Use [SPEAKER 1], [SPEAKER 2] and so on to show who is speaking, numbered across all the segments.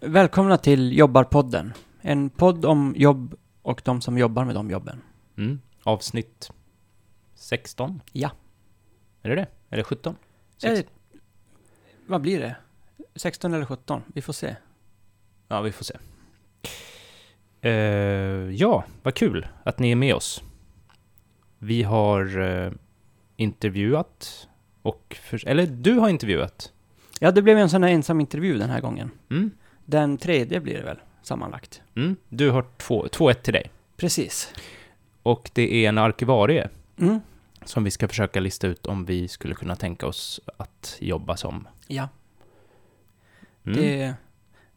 [SPEAKER 1] Välkomna till Jobbarpodden. En podd om jobb och de som jobbar med de jobben.
[SPEAKER 2] Mm. Avsnitt 16?
[SPEAKER 1] Ja.
[SPEAKER 2] Är det det? Eller 17?
[SPEAKER 1] Eh,
[SPEAKER 2] 16.
[SPEAKER 1] vad blir det? 16 eller 17? Vi får se.
[SPEAKER 2] Ja, vi får se. Eh, ja, vad kul att ni är med oss. Vi har eh, intervjuat och... För, eller du har intervjuat.
[SPEAKER 1] Ja, det blev en sån här ensam intervju den här gången.
[SPEAKER 2] Mm.
[SPEAKER 1] Den tredje blir det väl, sammanlagt.
[SPEAKER 2] Mm. Du har 2-1 till dig.
[SPEAKER 1] Precis.
[SPEAKER 2] Och det är en arkivarie
[SPEAKER 1] Mm.
[SPEAKER 2] som vi ska försöka lista ut om vi skulle kunna tänka oss att jobba som.
[SPEAKER 1] Ja,
[SPEAKER 2] Mm. Det...
[SPEAKER 1] det,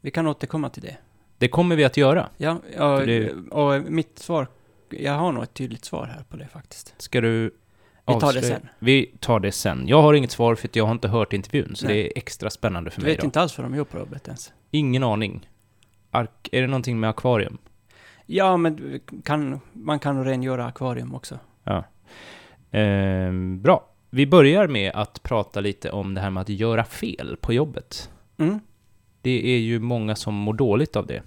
[SPEAKER 1] vi kan återkomma till det.
[SPEAKER 2] kommer vi att göra.
[SPEAKER 1] Ja, och,
[SPEAKER 2] För det-
[SPEAKER 1] och mitt svar, jag har nog ett tydligt svar här på det faktiskt.
[SPEAKER 2] Ska du...
[SPEAKER 1] Vi tar det
[SPEAKER 2] avslöja-
[SPEAKER 1] sen.
[SPEAKER 2] Vi tar det sen. Jag har inget svar för att jag har inte hört intervjun, så
[SPEAKER 1] Nej.
[SPEAKER 2] det är extra spännande för
[SPEAKER 1] Du
[SPEAKER 2] mig
[SPEAKER 1] vet
[SPEAKER 2] då.
[SPEAKER 1] inte alls vad de gör på jobbet ens.
[SPEAKER 2] Ingen aning. Ark är det någonting med akvarium?
[SPEAKER 1] Ja, men du kan, man kan nog rengöra akvarium också.
[SPEAKER 2] Ehm, bra. Vi börjar med att prata lite om det här med att göra fel på jobbet.
[SPEAKER 1] Mm.
[SPEAKER 2] Det är ju många som mår dåligt av det.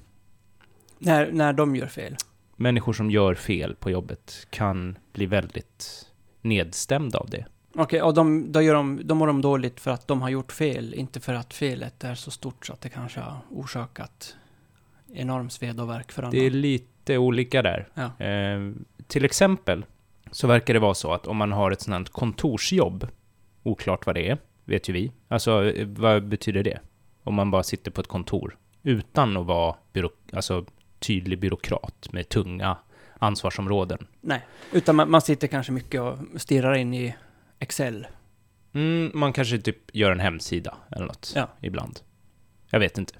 [SPEAKER 1] När, när de gör fel.
[SPEAKER 2] Människor som gör fel på jobbet kan bli väldigt nedstämda av det.
[SPEAKER 1] Okej, och de, då, gör de, då mår de dåligt för att de har gjort fel, inte för att felet är så stort så att det kanske har orsakat enorm svedervärk för andra.
[SPEAKER 2] Det är lite olika där.
[SPEAKER 1] Ja.
[SPEAKER 2] Ehm, till exempel så verkar det vara så att om man har ett sånt här kontorsjobb, oklart vad det är, vet ju vi. Alltså, eh, vad betyder det? Om man bara sitter på ett kontor utan att vara byrå, alltså, tydlig byråkrat med tunga ansvarsområden.
[SPEAKER 1] Utan man, man sitter kanske mycket och stirrar in i Excel.
[SPEAKER 2] Mm, man kanske typ gör en hemsida eller något
[SPEAKER 1] Ja.
[SPEAKER 2] ibland. Jag vet inte.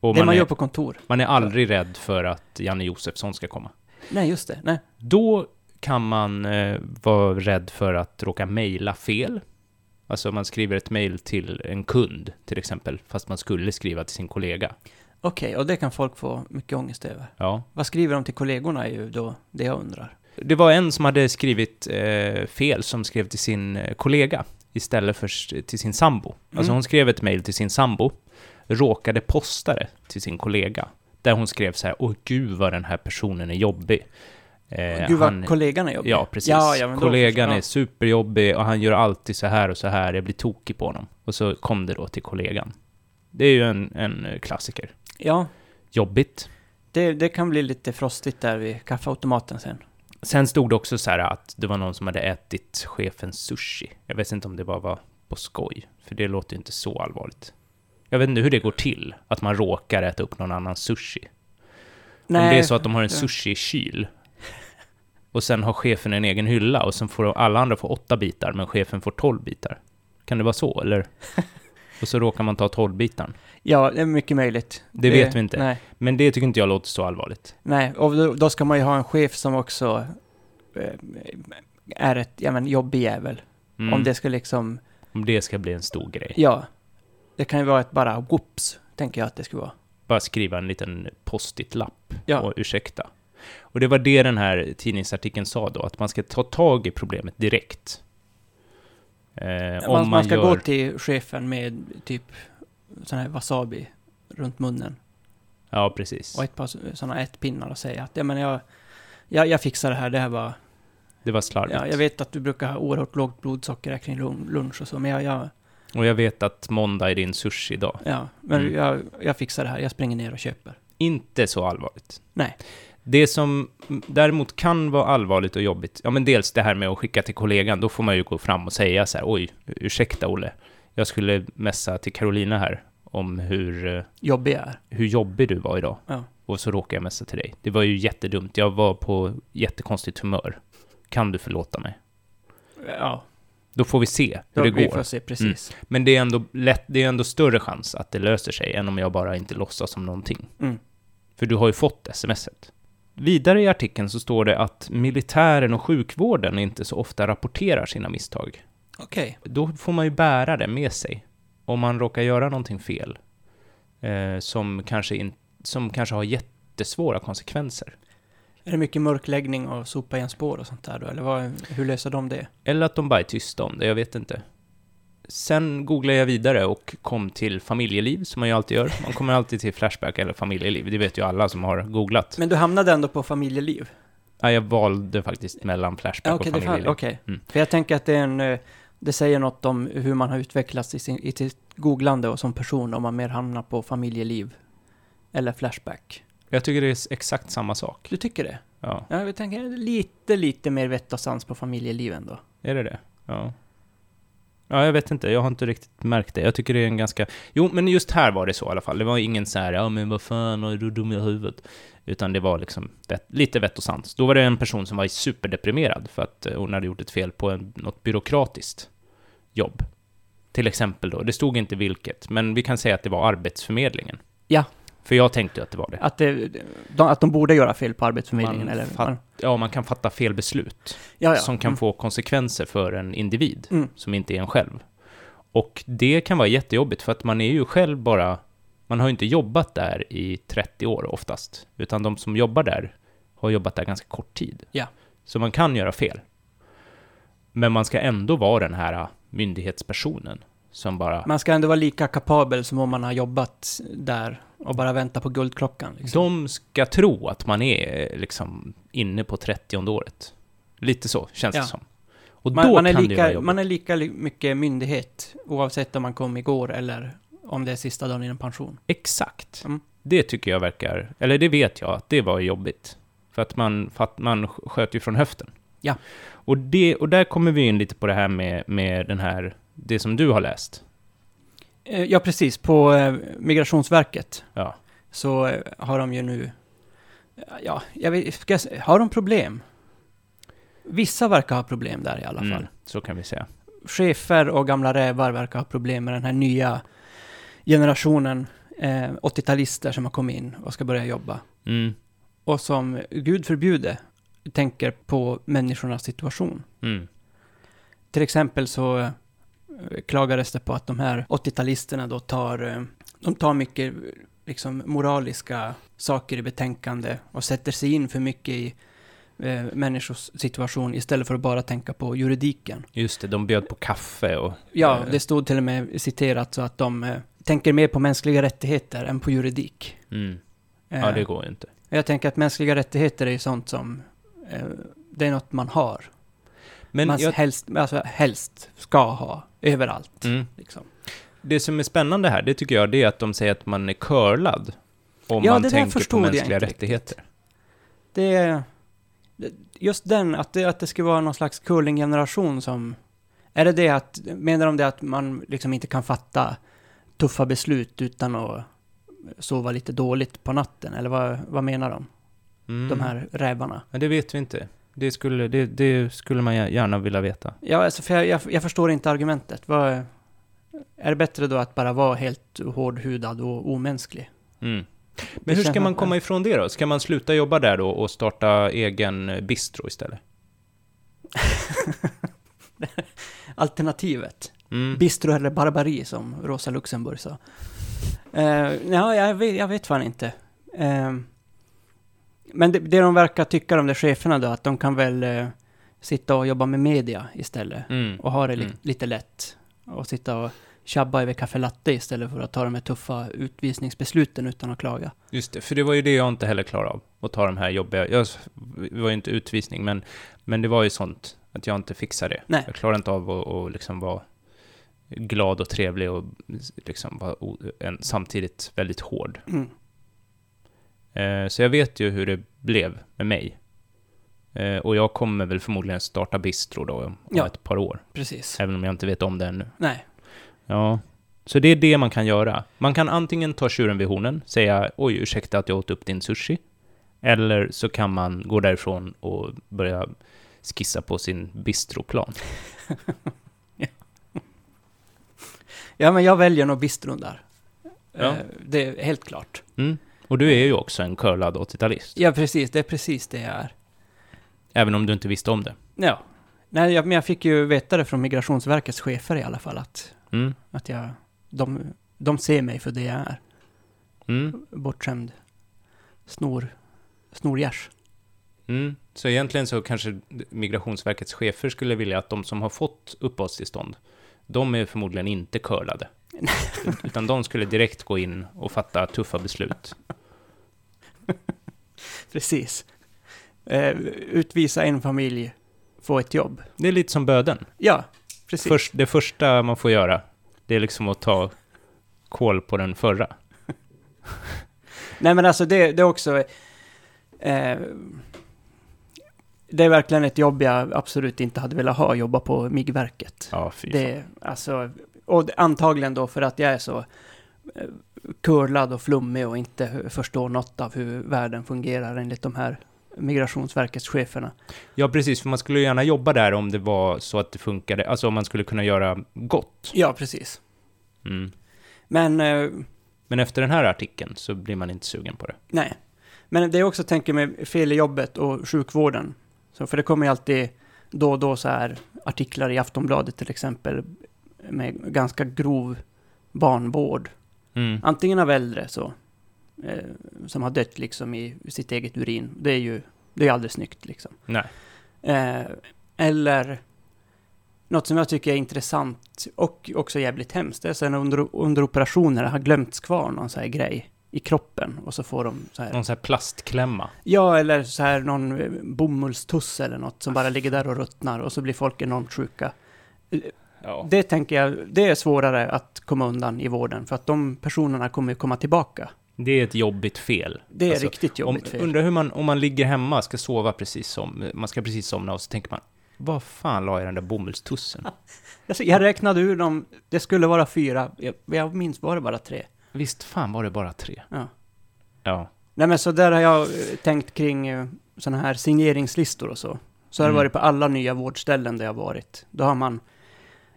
[SPEAKER 2] Och
[SPEAKER 1] det man,
[SPEAKER 2] man,
[SPEAKER 1] gör
[SPEAKER 2] är,
[SPEAKER 1] på kontor.
[SPEAKER 2] man är aldrig rädd för att Janne Josefsson ska komma.
[SPEAKER 1] Nej, just det. Nej.
[SPEAKER 2] Då kan man eh, vara rädd för att råka mejla fel. Alltså man skriver ett mejl till en kund till exempel, fast man skulle skriva till sin kollega.
[SPEAKER 1] Okej, och det kan folk få mycket ångest över.
[SPEAKER 2] Ja.
[SPEAKER 1] Vad skriver de till kollegorna är ju då det jag undrar.
[SPEAKER 2] Det var en som hade skrivit eh, fel som skrev till sin eh, kollega istället för s- till sin sambo. Alltså
[SPEAKER 1] Mm.
[SPEAKER 2] hon skrev ett mejl till sin sambo, råkade posta det till sin kollega. Där hon skrev så här, åh gud vad den här personen är jobbig. Eh,
[SPEAKER 1] Gud vad
[SPEAKER 2] han-
[SPEAKER 1] kollegan är jobbig.
[SPEAKER 2] Ja, precis.
[SPEAKER 1] Ja, ja, men då
[SPEAKER 2] Kollegan
[SPEAKER 1] förstår-
[SPEAKER 2] är superjobbig och han gör alltid så här och så här. Jag blir tokig på honom. Och så kom det då till kollegan. Det är ju en, en klassiker.
[SPEAKER 1] Ja,
[SPEAKER 2] Jobbigt.
[SPEAKER 1] det, det kan bli lite frostigt där vid kaffeautomaten sen.
[SPEAKER 2] Sen stod det också så här att det var någon som hade ätit chefens sushi. Jag vet inte om det bara var på skoj, för det låter ju inte så allvarligt. Jag vet inte hur det går till, att man råkar äta upp någon annans sushi. Om det är så att de har en
[SPEAKER 1] ja.
[SPEAKER 2] sushi-kyl och sen har chefen en egen hylla och sen får alla andra få åtta bitar men chefen får tolv bitar. Kan det vara så eller? Och så råkar man ta tolvbitaren.
[SPEAKER 1] Ja, det är mycket möjligt. Eh,
[SPEAKER 2] Det vet vi inte.
[SPEAKER 1] Nej,
[SPEAKER 2] Men det tycker inte jag låter så allvarligt.
[SPEAKER 1] nej. och då, då ska man ju ha en chef som också eh, är ett ja, men, jobbig jävel.
[SPEAKER 2] Mm.
[SPEAKER 1] Om det ska liksom,
[SPEAKER 2] Om det ska bli en stor grej.
[SPEAKER 1] ja. Det kan ju vara ett bara whoops, tänker jag att det skulle vara.
[SPEAKER 2] Bara skriva en liten post-it-lapp
[SPEAKER 1] Ja.
[SPEAKER 2] och ursäkta. Och det var det den här tidningsartikeln sa då, att man ska ta tag i problemet direkt. Eh, om
[SPEAKER 1] man,
[SPEAKER 2] man,
[SPEAKER 1] man ska
[SPEAKER 2] gör...
[SPEAKER 1] gå till chefen med typ sån här wasabi runt munnen
[SPEAKER 2] Ja, precis.
[SPEAKER 1] och ett par sådana ätpinnar och säga att ja, men jag, jag, jag fixar det här, det här var...
[SPEAKER 2] Det var slarvigt.
[SPEAKER 1] Ja, jag vet att du brukar ha oerhört lågt blodsocker här kring lun- lunch och så, men jag... jag
[SPEAKER 2] Och jag vet att måndag är din sushi-dag.
[SPEAKER 1] ja, men
[SPEAKER 2] Mm.
[SPEAKER 1] jag, jag fixar det här, jag springer ner och köper.
[SPEAKER 2] Inte så allvarligt.
[SPEAKER 1] Nej.
[SPEAKER 2] Det som däremot kan vara allvarligt och jobbigt, ja men dels det här med att skicka till kollegan, då får man ju gå fram och säga så här, oj, ursäkta Olle, jag skulle messa till Carolina här om hur, eh,
[SPEAKER 1] Jobbig jag är.
[SPEAKER 2] hur jobbig du var idag.
[SPEAKER 1] Ja.
[SPEAKER 2] Och så råkar jag messa till dig. Det var ju jättedumt, jag var på jättekonstigt humör. Kan du förlåta mig?
[SPEAKER 1] Ja,
[SPEAKER 2] Då får vi se
[SPEAKER 1] då,
[SPEAKER 2] hur det
[SPEAKER 1] vi
[SPEAKER 2] går.
[SPEAKER 1] får se precis.
[SPEAKER 2] Men det är ändå lätt, det är ändå större chans att det löser sig än om jag bara inte låtsas som någonting.
[SPEAKER 1] Mm.
[SPEAKER 2] För du har ju fått smset. Vidare i artikeln så står det att militären och sjukvården inte så ofta rapporterar sina misstag.
[SPEAKER 1] Okej.
[SPEAKER 2] Då får man ju bära det med sig. Om man råkar göra någonting fel. Eh, som, kanske in, som kanske har jättesvåra konsekvenser.
[SPEAKER 1] Är det mycket mörkläggning och sopa i en spår och sånt där då? Eller vad, hur löser de det?
[SPEAKER 2] Eller att de bara är tysta om det, jag vet inte. Sen googlade jag vidare och kom till familjeliv, som man ju alltid gör. Man kommer alltid till Flashback eller familjeliv, det vet ju alla som har googlat.
[SPEAKER 1] Men du hamnade ändå på familjeliv?
[SPEAKER 2] Ja, jag valde faktiskt mellan Flashback
[SPEAKER 1] Ja, Okej,
[SPEAKER 2] och
[SPEAKER 1] det fan-
[SPEAKER 2] familjeliv.
[SPEAKER 1] okej.
[SPEAKER 2] Mm.
[SPEAKER 1] För jag tänker att det är en... eh, Det säger något om hur man har utvecklats i, sin, i sitt googlande och som person om man mer hamnar på familjeliv eller Flashback.
[SPEAKER 2] Jag tycker det är exakt samma sak.
[SPEAKER 1] Du tycker det?
[SPEAKER 2] Ja,
[SPEAKER 1] Ja, jag tänker lite, lite mer vett och sans på familjeliv ändå.
[SPEAKER 2] är det det? Ja. Ja, jag vet inte, jag har inte riktigt märkt det. Jag tycker det är en ganska... Jo, men just här var det så i alla fall. Det var ingen så här, ja men vad fan, är du dum i huvudet? Utan det var liksom vett, lite vett och sans. Då var det en person som var superdeprimerad för att eh, hon hade gjort ett fel på en, något byråkratiskt jobb. Till exempel då, det stod inte vilket, men vi kan säga att det var Arbetsförmedlingen.
[SPEAKER 1] Ja.
[SPEAKER 2] För jag tänkte ju att det var det.
[SPEAKER 1] Att, det, de, att de borde göra fel på Arbetsförmedlingen
[SPEAKER 2] Man
[SPEAKER 1] eller...
[SPEAKER 2] fatt- Ja, man kan fatta fel beslut.
[SPEAKER 1] ja,
[SPEAKER 2] som kan
[SPEAKER 1] Mm.
[SPEAKER 2] få konsekvenser för en individ
[SPEAKER 1] Mm.
[SPEAKER 2] som inte är en själv. Och det kan vara jättejobbigt för att man är ju själv bara, man har ju inte jobbat där i 30 år oftast, utan de som jobbar där har jobbat där ganska kort tid.
[SPEAKER 1] Ja.
[SPEAKER 2] Så man kan göra fel. Men man ska ändå vara den här äh, myndighetspersonen som bara,
[SPEAKER 1] Man ska ändå vara lika kapabel som om man har jobbat där och bara vänta på guldklockan. Liksom.
[SPEAKER 2] de ska tro att man är eh, liksom inne på 30 året. Lite så känns
[SPEAKER 1] Ja.
[SPEAKER 2] det som. Och
[SPEAKER 1] Man,
[SPEAKER 2] då
[SPEAKER 1] man, är
[SPEAKER 2] kan det ju vara
[SPEAKER 1] lika,
[SPEAKER 2] jobbigt.
[SPEAKER 1] man är lika li- mycket myndighet oavsett om man kom igår eller om det är sista dagen innan pension.
[SPEAKER 2] Exakt.
[SPEAKER 1] Mm.
[SPEAKER 2] Det tycker jag verkar, eller det vet jag, att det var jobbigt. För att man, för att man sk- sköt ju från höften.
[SPEAKER 1] Ja.
[SPEAKER 2] Och, det, och där kommer vi in lite på det här med, med den här, det som du har läst.
[SPEAKER 1] Eh, Ja, precis. På eh, Migrationsverket
[SPEAKER 2] Ja.
[SPEAKER 1] så eh, har de ju nu... Ja, jag vet, ska jag, s- har de problem? Vissa verkar ha problem där i alla fall.
[SPEAKER 2] Mm, så kan vi säga.
[SPEAKER 1] chefer och gamla rävar verkar ha problem med den här nya generationen eh, 80-talister som har kommit in och ska börja jobba.
[SPEAKER 2] Mm,
[SPEAKER 1] Och som, gud förbjude, tänker på människornas situation.
[SPEAKER 2] mm,
[SPEAKER 1] Till exempel så eh, klagades det på att de här 80-talisterna då tar, eh, de tar mycket eh, liksom moraliska saker i betänkande och sätter sig in för mycket i eh, människors situation istället för att bara tänka på juridiken.
[SPEAKER 2] just det, de bjöd på kaffe och...
[SPEAKER 1] Ja,
[SPEAKER 2] eh,
[SPEAKER 1] det stod till och med citerat så att de eh, tänker mer på mänskliga rättigheter än på juridik.
[SPEAKER 2] Mm,
[SPEAKER 1] Eh,
[SPEAKER 2] ja, det går ju inte.
[SPEAKER 1] Jag tänker att mänskliga rättigheter är ju sånt som, eh, det är något man har.
[SPEAKER 2] Men
[SPEAKER 1] man
[SPEAKER 2] jag,
[SPEAKER 1] helst, alltså, helst ska ha, överallt.
[SPEAKER 2] mm,
[SPEAKER 1] Liksom.
[SPEAKER 2] det som är spännande här, det tycker jag, det är att de säger att man är curlad om
[SPEAKER 1] Ja,
[SPEAKER 2] man
[SPEAKER 1] det där
[SPEAKER 2] tänker på
[SPEAKER 1] förstod jag
[SPEAKER 2] mänskliga
[SPEAKER 1] inte riktigt.
[SPEAKER 2] rättigheter.
[SPEAKER 1] Det är, det- just den, att det, att det skulle vara någon slags curlinggeneration som, är det det att, menar de det att man liksom inte kan fatta tuffa beslut utan att sova lite dåligt på natten? Eller vad, vad menar de,
[SPEAKER 2] Mm.
[SPEAKER 1] de här rävarna?
[SPEAKER 2] Ja, det vet vi inte. Det skulle, det, det skulle man gärna vilja veta.
[SPEAKER 1] Ja, alltså, för jag, jag, jag förstår inte argumentet. Vad, är det bättre då att bara vara helt hårdhudad och omänsklig?
[SPEAKER 2] Mm.
[SPEAKER 1] Det
[SPEAKER 2] Men hur
[SPEAKER 1] känns
[SPEAKER 2] ska man
[SPEAKER 1] att-
[SPEAKER 2] komma ifrån det då? Ska man sluta jobba där då och starta egen eh, bistro istället?
[SPEAKER 1] Alternativet?
[SPEAKER 2] Mm.
[SPEAKER 1] Bistro eller barbari, som Rosa Luxemburg sa. Eh, ja, jag vet, jag vet fan inte. Eh, men det, det de verkar tycka, de där cheferna då, att de kan väl eh, sitta och jobba med media istället.
[SPEAKER 2] Mm.
[SPEAKER 1] Och ha det li-
[SPEAKER 2] Mm.
[SPEAKER 1] lite lätt. Och sitta och tjabba över kaffe latte istället för att ta de här tuffa utvisningsbesluten utan att klaga.
[SPEAKER 2] Just det, för det var ju det jag inte heller klarade av. Att ta de här jobbiga... Jag, det var ju inte utvisning, men, men det var ju sånt att jag inte fixade det.
[SPEAKER 1] Nej.
[SPEAKER 2] Jag klarade inte av att och liksom vara glad och trevlig och liksom vara o- en, samtidigt väldigt hård.
[SPEAKER 1] Mm.
[SPEAKER 2] Eh, Så jag vet ju hur det blev med mig. Eh, Och jag kommer väl förmodligen starta bistro då om om
[SPEAKER 1] Ja.
[SPEAKER 2] ett par år.
[SPEAKER 1] Precis.
[SPEAKER 2] Även om jag inte vet om det ännu.
[SPEAKER 1] Nej.
[SPEAKER 2] Ja. Så det är det man kan göra. Man kan antingen ta tjuren vid hornen, säga oj, ursäkta att jag åt upp din sushi. Eller så kan man gå därifrån och börja skissa på sin bistroplan.
[SPEAKER 1] Ja, men jag väljer nog bistron där.
[SPEAKER 2] Ja.
[SPEAKER 1] Eh, Det är helt klart.
[SPEAKER 2] Mm. Och du är ju också en curlad 80-talist.
[SPEAKER 1] Ja, precis. Det är precis det jag är.
[SPEAKER 2] Även om du inte visste om det.
[SPEAKER 1] Ja. Nej, jag, men jag fick ju veta det från Migrationsverkets chefer i alla fall, att,
[SPEAKER 2] Mm.
[SPEAKER 1] att jag, de, de ser mig för det jag är.
[SPEAKER 2] Mm.
[SPEAKER 1] Bortskämd snor, snorgärs.
[SPEAKER 2] Mm. Så egentligen så kanske Migrationsverkets chefer skulle vilja att de som har fått uppehållstillstånd de är förmodligen inte curlade. Ut- Utan de skulle direkt gå in och fatta tuffa beslut.
[SPEAKER 1] Precis. Eh, utvisa en familj, få ett jobb.
[SPEAKER 2] Det är lite som böden.
[SPEAKER 1] Ja, precis.
[SPEAKER 2] Först, det första man får göra, det är liksom att ta koll på den förra.
[SPEAKER 1] Nej men alltså det, det är också... Eh, det är verkligen ett jobb jag absolut inte hade velat ha, jobba på MIG-verket.
[SPEAKER 2] Ja, fy fan.
[SPEAKER 1] Det, alltså, och det- antagligen då för att jag är så eh, kurlad och flummig och inte förstår något av hur världen fungerar enligt de här Migrationsverkets cheferna.
[SPEAKER 2] Ja, precis, för man skulle ju gärna jobba där om det var så att det funkade, alltså om man skulle kunna göra gott.
[SPEAKER 1] Ja, precis.
[SPEAKER 2] Mm.
[SPEAKER 1] Men, eh,
[SPEAKER 2] Men efter den här artikeln så blir man inte sugen på det.
[SPEAKER 1] nej. Men det jag också tänker mig fel i jobbet och sjukvården. Så, för det kommer ju alltid då och då så här artiklar i Aftonbladet till exempel med ganska grov barnvård.
[SPEAKER 2] Mm.
[SPEAKER 1] Antingen av äldre så, eh, som har dött liksom i sitt eget urin. Det är ju det är ju aldrig snyggt liksom.
[SPEAKER 2] Nej.
[SPEAKER 1] Eh, eller något som jag tycker är intressant och också jävligt hemskt. Det är sen under, under operationer har glömts kvar någon så här grej i kroppen och så får de så här.
[SPEAKER 2] Någon sån här plastklämma.
[SPEAKER 1] Ja, eller så här någon eh, bomullstuss eller något som bara ligger där och ruttnar och så blir folk enormt sjuka.
[SPEAKER 2] Ja.
[SPEAKER 1] Det tänker jag, det är svårare att komma undan i vården för att de personerna kommer ju komma tillbaka.
[SPEAKER 2] Det är ett jobbigt fel.
[SPEAKER 1] Det är
[SPEAKER 2] Alltså,
[SPEAKER 1] riktigt jobbigt
[SPEAKER 2] om,
[SPEAKER 1] fel.
[SPEAKER 2] Undrar hur man, om man ligger hemma, ska sova precis som, man ska precis somna och så tänker man, vad fan la jag den där bomullstussen?
[SPEAKER 1] Alltså, jag räknade ur dem, det skulle vara fyra, jag, jag minns var det bara tre.
[SPEAKER 2] Visst fan var det bara tre?
[SPEAKER 1] Ja.
[SPEAKER 2] Ja.
[SPEAKER 1] Nej men så där har jag eh, tänkt kring sådana här signeringslistor och så. Så har det
[SPEAKER 2] Mm.
[SPEAKER 1] varit på alla nya vårdställen där jag varit. Då har man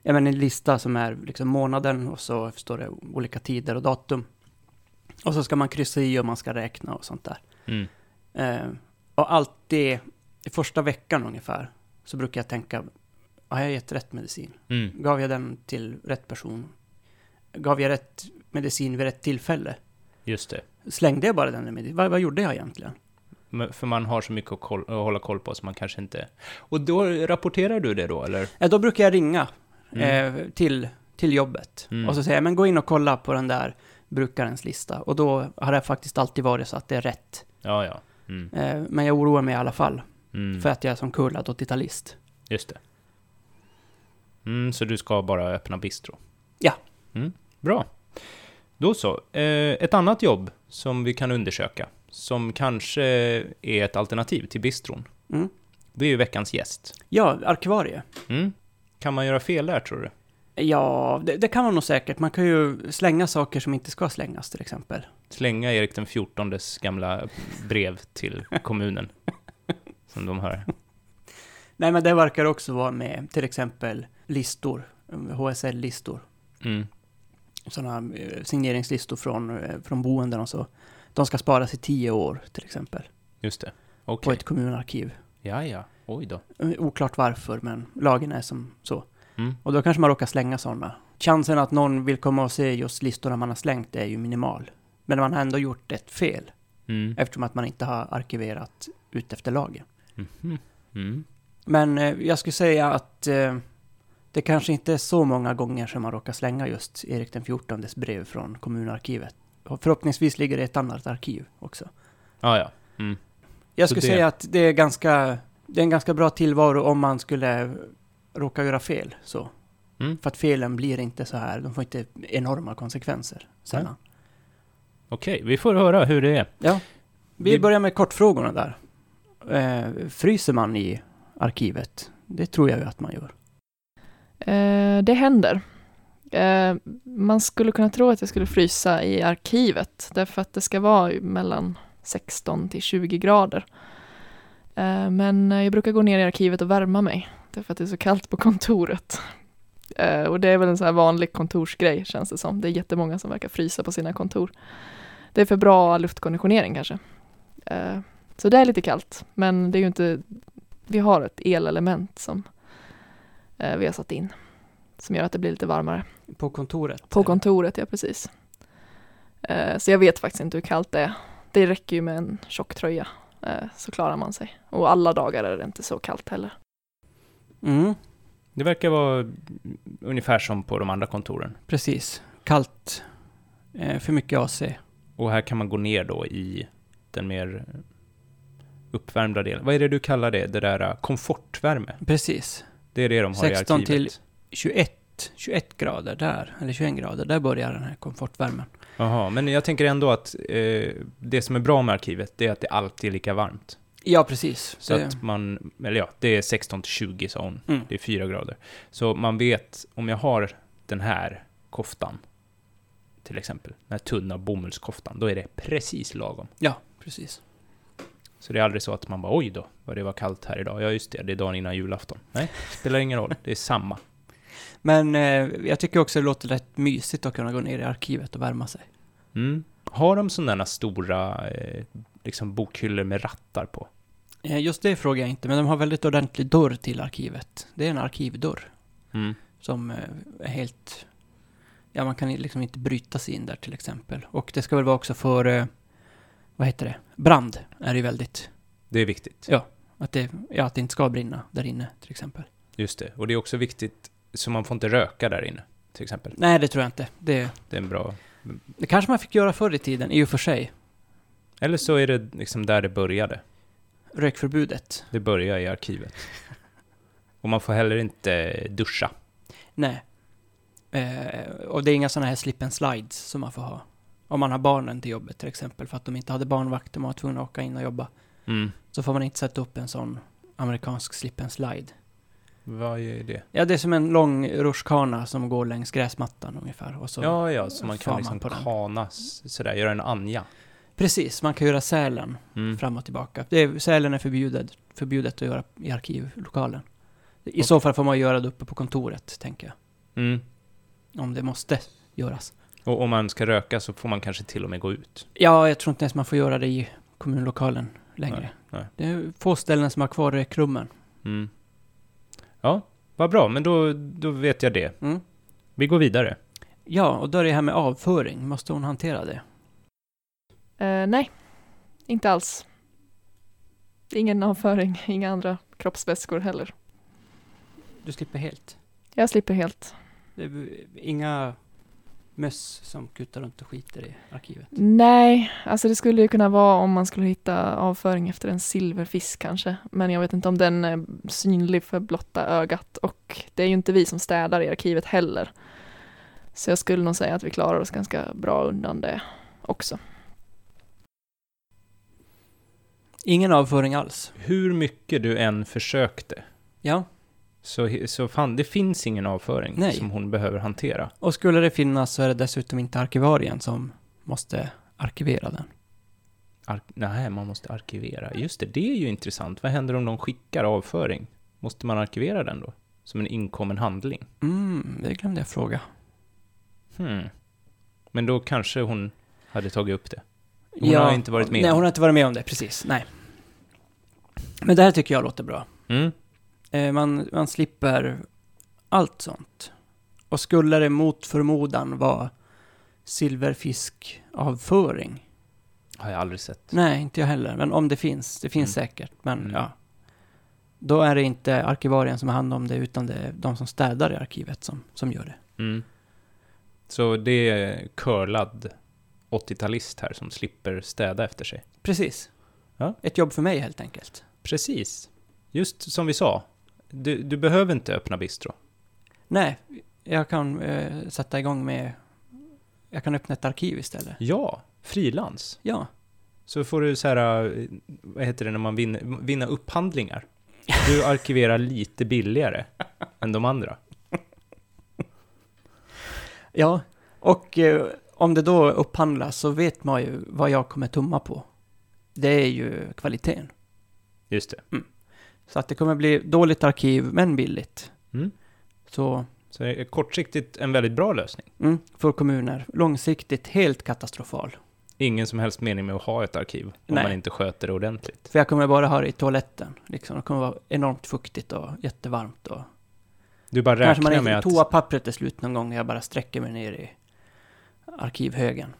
[SPEAKER 1] ja, men en lista som är liksom månaden och så står det olika tider och datum. Och så ska man kryssa i och man ska räkna och sånt där.
[SPEAKER 2] Mm.
[SPEAKER 1] Eh, och alltid i första veckan ungefär så brukar jag tänka, har jag gett rätt medicin?
[SPEAKER 2] Mm.
[SPEAKER 1] Gav jag den till rätt person? Gav jag rätt medicin vid rätt tillfälle?
[SPEAKER 2] Just det.
[SPEAKER 1] Slängde jag bara den medicinen? Vad, vad gjorde jag egentligen?
[SPEAKER 2] Men- För man har så mycket att, koll, att hålla koll på så man kanske inte... Och då rapporterar du det då, eller?
[SPEAKER 1] Eh, Då brukar jag ringa
[SPEAKER 2] Mm.
[SPEAKER 1] eh, till, till jobbet
[SPEAKER 2] Mm.
[SPEAKER 1] och så säger jag, men gå in och kolla på den där brukarens lista. Och då har det faktiskt alltid varit så att det är rätt.
[SPEAKER 2] Ja, ja. Mm.
[SPEAKER 1] Eh, men jag oroar mig i alla fall
[SPEAKER 2] Mm.
[SPEAKER 1] för att jag är som kullad 80-talist.
[SPEAKER 2] Just det. Mm, så du ska bara öppna bistro?
[SPEAKER 1] Ja.
[SPEAKER 2] Mm, bra. Då så. Eh, ett annat jobb som vi kan undersöka, som kanske är ett alternativ till bistron,
[SPEAKER 1] Mm.
[SPEAKER 2] det är ju veckans gäst.
[SPEAKER 1] Ja, arkivarie.
[SPEAKER 2] Mm. Kan man göra fel där, tror du?
[SPEAKER 1] Ja, det, det kan man nog säkert. Man kan ju slänga saker som inte ska slängas till exempel.
[SPEAKER 2] Slänga Erik den fjortondes gamla brev till kommunen, som de hör.
[SPEAKER 1] Nej, men det verkar också vara med till exempel listor, HSL-listor.
[SPEAKER 2] Mm.
[SPEAKER 1] sådana eh, signeringslistor från, eh, från boenden och så. De ska sparas i tio år till exempel,
[SPEAKER 2] Just det.
[SPEAKER 1] på
[SPEAKER 2] Okej.
[SPEAKER 1] ett kommunarkiv.
[SPEAKER 2] Ja, ja. Oj då.
[SPEAKER 1] Eh, Oklart varför, men lagen är som så.
[SPEAKER 2] Mm.
[SPEAKER 1] Och då kanske man råkar slänga sådana. Chansen att någon vill komma och se just listorna man har slängt är ju minimal. Men man har ändå gjort ett fel,
[SPEAKER 2] Mm.
[SPEAKER 1] eftersom att man inte har arkiverat ut efter lagen.
[SPEAKER 2] Mhm. Mm.
[SPEAKER 1] Men eh, jag skulle säga att eh, det kanske inte är så många gånger som man råkar slänga just Erik den XIVs brev från kommunarkivet. Och förhoppningsvis ligger det i ett annat arkiv också.
[SPEAKER 2] Ja, ja. Mm.
[SPEAKER 1] Jag
[SPEAKER 2] Så
[SPEAKER 1] skulle
[SPEAKER 2] det-
[SPEAKER 1] säga att det är, ganska, det är en ganska bra tillvaro om man skulle råka göra fel. Så.
[SPEAKER 2] Mm.
[SPEAKER 1] För att felen blir inte så här, de får inte enorma konsekvenser sällan.
[SPEAKER 2] Okej, vi får höra hur det är.
[SPEAKER 1] Ja. Vi
[SPEAKER 2] Det-
[SPEAKER 1] börjar med kortfrågorna där. Eh, fryser man i arkivet? Det tror jag ju att man gör.
[SPEAKER 3] Eh, det händer. Eh, man skulle kunna tro att jag skulle frysa i arkivet, därför att det ska vara ju mellan 16 till 20 grader. Eh, men eh, jag brukar gå ner i arkivet och värma mig, därför att det är så kallt på kontoret. Eh, och det är väl en sån här vanlig kontorsgrej, känns det som. Det är jättemånga som verkar frysa på sina kontor. Det är för bra luftkonditionering kanske. Eh, så det är lite kallt, men det är ju inte... Vi har ett elelement som eh, vi har satt in som gör att det blir lite varmare.
[SPEAKER 1] På kontoret?
[SPEAKER 3] På kontoret, ja precis. Eh, Så jag vet faktiskt inte hur kallt det är. Det räcker ju med en tjock tröja eh, så klarar man sig. Och alla dagar är det inte så kallt heller.
[SPEAKER 1] Mm.
[SPEAKER 2] Det verkar vara ungefär som på de andra kontoren.
[SPEAKER 1] Precis. Kallt. Eh, för mycket AC.
[SPEAKER 2] Och här kan man gå ner då i den mer uppvärmda delen. Vad är det du kallar det? Det där eh, komfortvärme?
[SPEAKER 1] Precis.
[SPEAKER 2] Det är det de har i
[SPEAKER 1] 16
[SPEAKER 2] arkivet.
[SPEAKER 1] till- 21, 21 grader där, eller 21 grader, där börjar den här komfortvärmen.
[SPEAKER 2] Jaha, men jag tänker ändå att eh, det som är bra med arkivet, det är att det alltid är lika varmt.
[SPEAKER 1] Ja, precis.
[SPEAKER 2] Så
[SPEAKER 1] det,
[SPEAKER 2] att man, eller ja, det är 16 till 20 sa hon.
[SPEAKER 1] mm.
[SPEAKER 2] Det är 4 grader. Så man vet, om jag har den här koftan, till exempel, den här tunna bomullskoftan, då är det precis lagom.
[SPEAKER 1] Ja, precis.
[SPEAKER 2] Så det är aldrig så att man bara oj då, vad det var kallt här idag. Ja just det, det är dagen innan julafton. Nej, spelar ingen roll, det är samma.
[SPEAKER 1] Men eh, jag tycker också det låter rätt mysigt att kunna gå ner i arkivet och värma sig.
[SPEAKER 2] Mm. Har de sådana stora eh, liksom bokhyllor med rattar på?
[SPEAKER 1] Eh, just det frågar jag inte, men de har väldigt ordentlig dörr till arkivet. Det är en arkivdörr
[SPEAKER 2] Mm.
[SPEAKER 1] som eh, är helt... Ja, man kan liksom inte bryta sig in där till exempel. Och det ska väl vara också för... Eh, vad heter det? Brand är det ju väldigt.
[SPEAKER 2] Det är viktigt.
[SPEAKER 1] Att det, ja, att det inte ska brinna där inne till exempel.
[SPEAKER 2] Just det, och det är också viktigt, så man får inte röka där inne, till exempel.
[SPEAKER 1] Nej, det tror jag inte. Det,
[SPEAKER 2] Det är en bra...
[SPEAKER 1] det kanske man fick göra förr i tiden, i och för sig.
[SPEAKER 2] Eller så är det liksom där det började.
[SPEAKER 1] Rökförbudet.
[SPEAKER 2] Det börjar i arkivet. Och man får heller inte duscha.
[SPEAKER 1] Nej. Eh, och det är inga sådana här slip and slides som man får ha. Om man har barnen till jobbet till exempel, för att de inte hade barnvakter, man var tvungen att åka in och jobba.
[SPEAKER 2] Mm.
[SPEAKER 1] Så får man inte sätta upp en sån amerikansk slip and slide.
[SPEAKER 2] Vad är det?
[SPEAKER 1] Ja, det är som en lång rutschkana som går längs gräsmattan ungefär. Och så,
[SPEAKER 2] ja, ja, så man kan
[SPEAKER 1] far
[SPEAKER 2] liksom
[SPEAKER 1] man på den.
[SPEAKER 2] kana s- sådär, göra en anja.
[SPEAKER 1] Precis, man kan göra sälen
[SPEAKER 2] Mm.
[SPEAKER 1] fram och tillbaka. Det är, sälen är förbjudet, förbjudet att göra i arkivlokalen. I så fall får man göra det uppe på kontoret, tänker jag.
[SPEAKER 2] Mm.
[SPEAKER 1] om det måste göras.
[SPEAKER 2] Och om man ska röka så får man kanske till och med gå ut.
[SPEAKER 1] Ja, jag tror inte ens man får göra det i kommunlokalen längre.
[SPEAKER 2] nej.
[SPEAKER 1] Det är få ställen som har kvar rökrummen.
[SPEAKER 2] Mm. Ja, vad bra, men då, då vet jag det.
[SPEAKER 1] Mm.
[SPEAKER 2] Vi går vidare.
[SPEAKER 1] Ja, och då är det här med avföring. Måste hon hantera det?
[SPEAKER 3] Eh, nej, inte alls. Ingen avföring, inga andra kroppsvätskor heller.
[SPEAKER 1] Du slipper helt.
[SPEAKER 3] Jag slipper helt.
[SPEAKER 1] Det är inga möss som kutar runt och skiter i arkivet.
[SPEAKER 3] Nej, alltså det skulle ju kunna vara om man skulle hitta avföring efter en silverfisk kanske. Men jag vet inte om den är synlig för blotta ögat och det är ju inte vi som städar i arkivet heller. Så jag skulle nog säga att vi klarar oss ganska bra undan det också.
[SPEAKER 1] Ingen avföring alls.
[SPEAKER 2] Hur mycket du än försökte
[SPEAKER 1] Ja,
[SPEAKER 2] Så, så fan, det finns ingen avföring
[SPEAKER 1] Nej.
[SPEAKER 2] som hon behöver hantera.
[SPEAKER 1] och skulle det finnas så är det dessutom inte arkivarien som måste arkivera den.
[SPEAKER 2] Ar- nej, man måste arkivera. Just det, det är ju intressant. Vad händer om de skickar avföring? Måste man arkivera den då? Som en inkommen handling?
[SPEAKER 1] Mm, det glömde jag fråga.
[SPEAKER 2] Hmm. Men då kanske hon hade tagit upp det. Hon har inte varit med
[SPEAKER 1] Nej,
[SPEAKER 2] om.
[SPEAKER 1] hon har inte varit med om det, precis. Nej. Men det här tycker jag låter bra.
[SPEAKER 2] Mm.
[SPEAKER 1] Eh, Man, man slipper allt sånt. Och skulle det mot förmodan vara silverfiskavföring?
[SPEAKER 2] Har jag aldrig sett.
[SPEAKER 1] Nej, inte jag heller. Men om det finns, det finns
[SPEAKER 2] Mm.
[SPEAKER 1] säkert. Men
[SPEAKER 2] Mm.
[SPEAKER 1] ja. Då är det inte arkivarien som har hand om det, utan det är de som städar i arkivet som, som gör det.
[SPEAKER 2] Mm. Så det är curlad 80-talist här som slipper städa efter sig.
[SPEAKER 1] Precis.
[SPEAKER 2] Ja.
[SPEAKER 1] Ett jobb för mig helt enkelt.
[SPEAKER 2] Precis. Just som vi sa. Du, du behöver inte öppna bistro.
[SPEAKER 1] Nej, jag kan eh, sätta igång med... Jag kan öppna ett arkiv istället.
[SPEAKER 2] Ja, frilans.
[SPEAKER 1] Ja,
[SPEAKER 2] Så får du så här, eh, vad heter det när man vinner, vinna upphandlingar? Du arkiverar lite billigare än de andra.
[SPEAKER 1] Ja, och eh, om det då upphandlas så vet man ju vad jag kommer tumma på. Det är ju kvaliteten.
[SPEAKER 2] Just det.
[SPEAKER 1] Så att det kommer bli dåligt arkiv, men billigt.
[SPEAKER 2] Mm.
[SPEAKER 1] Så,
[SPEAKER 2] Så det är kortsiktigt en väldigt bra lösning.
[SPEAKER 1] mm, för kommuner. Långsiktigt helt katastrofal.
[SPEAKER 2] Ingen som helst mening med att ha ett arkiv om
[SPEAKER 1] Nej.
[SPEAKER 2] man inte sköter det ordentligt.
[SPEAKER 1] För jag kommer bara ha det i toaletten. Liksom. Det kommer vara enormt fuktigt och jättevarmt. Och...
[SPEAKER 2] Du bara
[SPEAKER 1] Kanske man
[SPEAKER 2] räknar med
[SPEAKER 1] inte
[SPEAKER 2] att
[SPEAKER 1] toapappret är slut någon gång när jag bara sträcker mig ner i arkivhögen.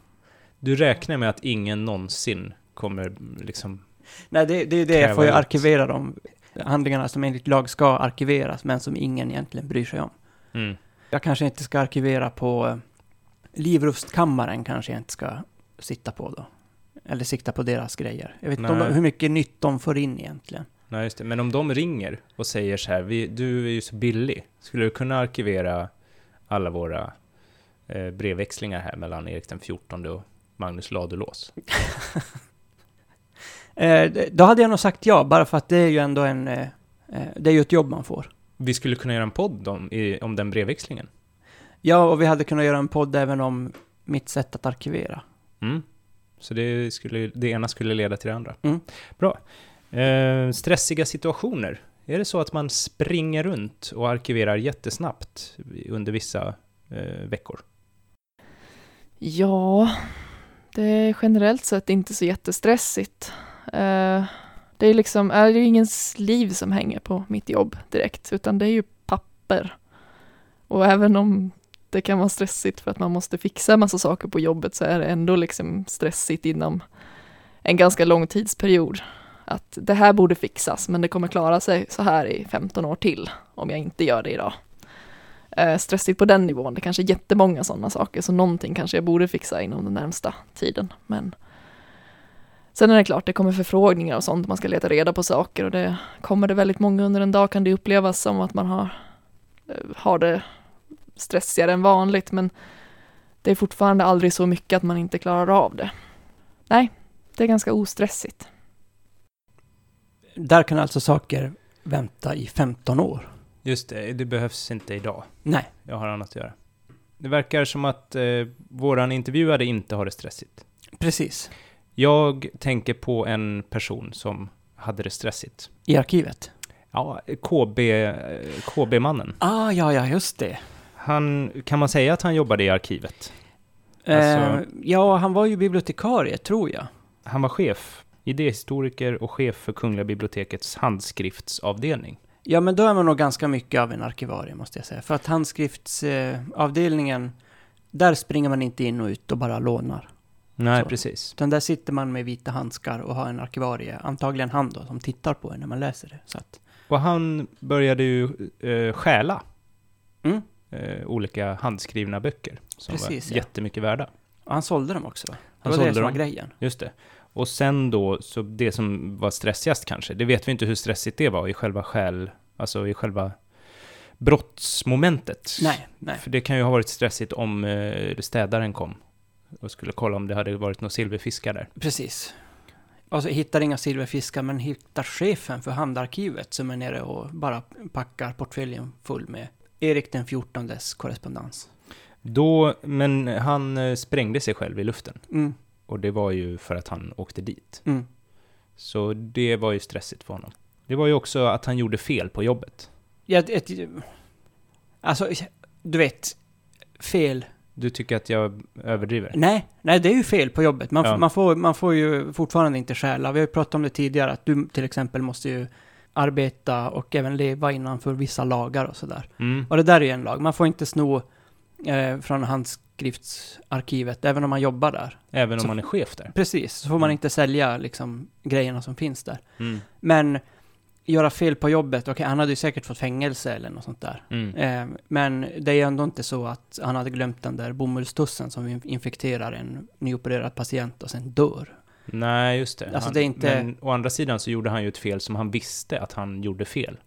[SPEAKER 2] du räknar med att ingen någonsin kommer liksom
[SPEAKER 1] Nej, det, det är ju det.
[SPEAKER 2] Kräva
[SPEAKER 1] Jag får ju
[SPEAKER 2] ut.
[SPEAKER 1] arkivera dem. handlingarna som enligt lag ska arkiveras, men som ingen egentligen bryr sig om.
[SPEAKER 2] Mm.
[SPEAKER 1] Jag kanske inte ska arkivera på eh, Livrustkammaren kanske jag inte ska sitta på då. Eller sikta på deras grejer. Jag vet inte om
[SPEAKER 2] Nej.
[SPEAKER 1] de, hur mycket nytt de får in egentligen.
[SPEAKER 2] Nej, just det. Men om de ringer och säger så här, vi, du är ju så billig, skulle du kunna arkivera alla våra eh, brevväxlingar här mellan Erik den 14 och Magnus Ladulås?
[SPEAKER 1] Eh, d- då hade jag nog sagt ja, bara för att det är ju ändå en... Eh, eh, det är ju ett jobb man får.
[SPEAKER 2] Vi skulle kunna göra en podd om, i, om den brevväxlingen.
[SPEAKER 1] Ja, och vi hade kunnat göra en podd även om mitt sätt att arkivera.
[SPEAKER 2] Mm. Så det, skulle, det ena skulle leda till det andra.
[SPEAKER 1] Mm.
[SPEAKER 2] Bra. Eh, stressiga situationer. Är det så att man springer runt och arkiverar jättesnabbt under vissa eh, veckor?
[SPEAKER 3] Ja, det är generellt sett inte så jättestressigt. Eh, Det är liksom, är det är ju ingens liv som hänger på mitt jobb direkt, utan det är ju papper. Och även om det kan vara stressigt för att man måste fixa en massa saker på jobbet så är det ändå liksom stressigt inom en ganska lång tidsperiod. Att det här borde fixas, men det kommer klara sig så här i 15 år till om jag inte gör det idag eh, stressigt på den nivån. Det kanske är jättemånga sådana saker, så någonting kanske jag borde fixa inom den närmsta tiden. Men sen är det klart, det kommer förfrågningar och sånt, man ska leta reda på saker och det kommer det väldigt många under en dag kan det upplevas som att man har, eh, har det stressigare än vanligt, men det är fortfarande aldrig så mycket att man inte klarar av det. Nej, det är ganska ostressigt.
[SPEAKER 1] Där kan alltså saker vänta i 15 år.
[SPEAKER 2] Just det, det behövs inte idag.
[SPEAKER 1] Nej.
[SPEAKER 2] Jag har annat att göra. Det verkar som att eh, våran intervjuade inte har det stressigt.
[SPEAKER 1] Precis.
[SPEAKER 2] Jag tänker på en person som hade det stressigt.
[SPEAKER 1] I arkivet.
[SPEAKER 2] Ja, KB, eh, KB-mannen.
[SPEAKER 1] Ah, ja, ja, just det.
[SPEAKER 2] Han, kan man säga att han jobbade i arkivet?
[SPEAKER 1] Eh,
[SPEAKER 2] Alltså-
[SPEAKER 1] ja, han var ju bibliotekarie, tror jag.
[SPEAKER 2] Han var chef, idéhistoriker och chef för Kungliga bibliotekets handskriftsavdelning.
[SPEAKER 1] Ja, men då är man nog ganska mycket av en arkivarie, måste jag säga. För att handskriftsavdelningen, eh, avdelningen, där springer man inte in och ut och bara lånar.
[SPEAKER 2] Nej,
[SPEAKER 1] Så.
[SPEAKER 2] precis.
[SPEAKER 1] Utan där sitter man med vita handskar och har en arkivarie, antagligen han då, som tittar på en när man läser det. Så att,
[SPEAKER 2] Och han började ju eh, stjäla
[SPEAKER 1] mm.
[SPEAKER 2] eh, olika handskrivna böcker som
[SPEAKER 1] Precis,
[SPEAKER 2] var
[SPEAKER 1] ja.
[SPEAKER 2] jättemycket värda.
[SPEAKER 1] Och han sålde dem också, va? Det
[SPEAKER 2] Han
[SPEAKER 1] var det
[SPEAKER 2] sålde
[SPEAKER 1] som var
[SPEAKER 2] dem.
[SPEAKER 1] grejen.
[SPEAKER 2] Just det. Och sen då, så det som var stressigast kanske, det vet vi inte hur stressigt det var i själva skäl, alltså i själva brottsmomentet.
[SPEAKER 1] Nej, nej.
[SPEAKER 2] För det kan ju ha varit stressigt om eh, städaren kom och skulle kolla om det hade varit några silverfiskar där.
[SPEAKER 1] Precis. Alltså hittar inga silverfiskar men hittar chefen för handarkivet som är nere och bara packar portföljen full med Erik den 14:s korrespondens.
[SPEAKER 2] Då, men han eh, sprängde sig själv i luften
[SPEAKER 1] Mm,
[SPEAKER 2] och det var ju för att han åkte dit.
[SPEAKER 1] mm.
[SPEAKER 2] Så det var ju stressigt för honom. Det var ju också att han gjorde fel på jobbet.
[SPEAKER 1] Ja, ett, ett, alltså, du vet, fel.
[SPEAKER 2] Du tycker att jag överdriver?
[SPEAKER 1] Nej, nej, det är ju fel på jobbet. Man, f-
[SPEAKER 2] Ja.
[SPEAKER 1] man, får, man får ju fortfarande inte stjäla. Vi har ju pratat om det tidigare, att du till exempel måste ju arbeta och även leva innanför vissa lagar och sådär.
[SPEAKER 2] Mm.
[SPEAKER 1] Och det där är ju en lag. Man får inte sno eh, från handskriftsarkivet, även om man jobbar där.
[SPEAKER 2] Även om
[SPEAKER 1] Så-
[SPEAKER 2] man är chef där?
[SPEAKER 1] Precis, så får man inte sälja liksom, grejerna som finns där.
[SPEAKER 2] Mm.
[SPEAKER 1] Men göra fel på jobbet, okej, han hade ju säkert fått fängelse eller något sånt där.
[SPEAKER 2] Mm.
[SPEAKER 1] Eh, men det är ju ändå inte så att han hade glömt den där bomullstussen som in- infekterar en nyopererad patient och sen dör.
[SPEAKER 2] Nej, just det.
[SPEAKER 1] Alltså, det är inte-
[SPEAKER 2] Men å andra sidan så gjorde han ju ett fel som han visste att han gjorde fel.